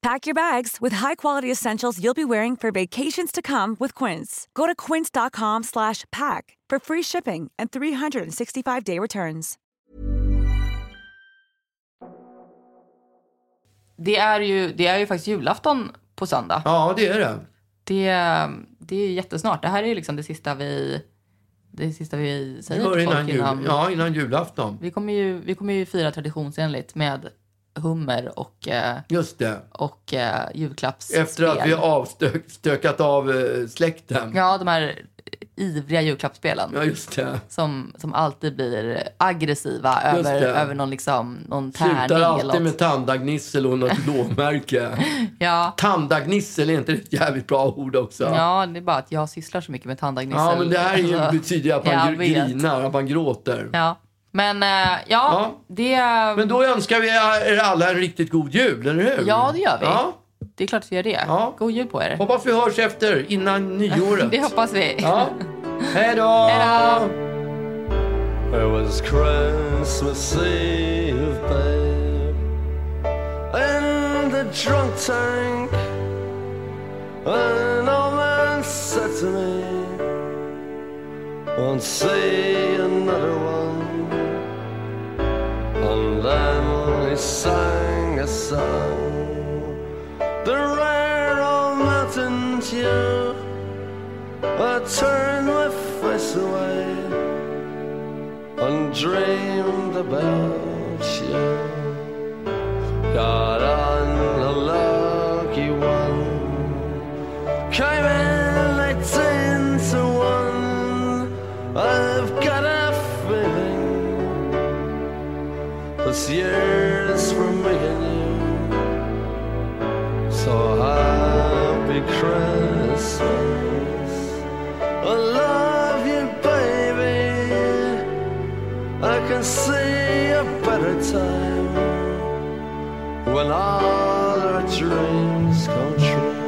Speaker 4: Pack your bags with high-quality essentials you'll be wearing for vacations to come with Quince. Go to quince.com slash pack for free shipping and 365-day returns.
Speaker 1: Det är, ju, det är ju faktiskt julafton på söndag.
Speaker 2: Ja, det är det.
Speaker 1: Det, det är ju jättesnart. Det här är ju liksom det sista vi, det sista vi
Speaker 2: Det
Speaker 1: säger
Speaker 2: var
Speaker 1: till folk
Speaker 2: innan, jul, ja, innan julafton.
Speaker 1: Vi kommer, ju, vi kommer ju fira traditionsenligt med hummer och, eh,
Speaker 2: Just det.
Speaker 1: och eh, julklappsspel.
Speaker 2: Efter att vi avstökat av eh, släkten. Ja.
Speaker 1: Ja, de här ivriga julklappsspelen.
Speaker 2: just det.
Speaker 1: Som, som alltid blir aggressiva
Speaker 2: Just
Speaker 1: över,
Speaker 2: det.
Speaker 1: över någon, liksom, någon tärning.
Speaker 2: Slutar
Speaker 1: Eller
Speaker 2: alltid
Speaker 1: något.
Speaker 2: med tandagnissel och något <laughs> lågmärke.
Speaker 1: Ja,
Speaker 2: Tandagnissel, är inte det ett jävligt bra ord också?
Speaker 1: ja, det är bara att jag sysslar så mycket med tandagnissel.
Speaker 2: Ja, men det här är
Speaker 1: Alltså,
Speaker 2: ju, betyder ju att
Speaker 1: jag
Speaker 2: man gr-
Speaker 1: vet.
Speaker 2: grinar, att man gråter.
Speaker 1: Ja. Men eh, ja,
Speaker 2: Ja.
Speaker 1: det...
Speaker 2: Men då önskar vi er alla en riktigt god jul, eller hur?
Speaker 1: Ja, det gör vi.
Speaker 2: Ja.
Speaker 1: Det är klart vi gör det.
Speaker 2: Ja.
Speaker 1: God jul på er.
Speaker 2: Hoppas vi hörs efter, innan nyåret.
Speaker 1: <laughs> Det hoppas vi.
Speaker 2: Ja. Hej då!
Speaker 1: Hej då!
Speaker 5: It was Christmas Eve, babe, in the drunk tank. An old man said to me, "Won't see another one." And then he sang a song, the rare old mountain dew. I turned my face away and dreamed about you. Got on a lucky one, came in eighteen to one. I've got a feeling this year's for me and you. So happy Christmas. I love you, baby. I can see a better time when all our dreams come true.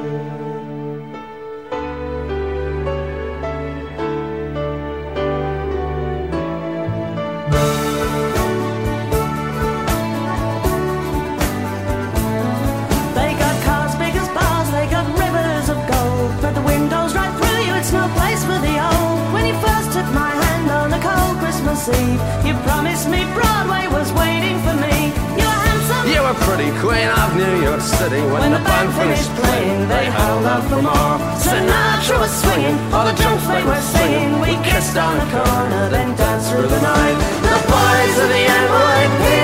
Speaker 6: They got cars big as bars, they got rivers of gold. But the windows right through you, it's no place for the old. When you first took my hand on a cold Christmas Eve, you promised me Broadway was waiting for me. You were handsome.
Speaker 5: You were pretty queen of New York City when,
Speaker 6: When the band finished playing, they held out for more. Sinatra was swinging, all the junk they were singing. We kissed on the corner, then danced through the night. The boys of the NYPD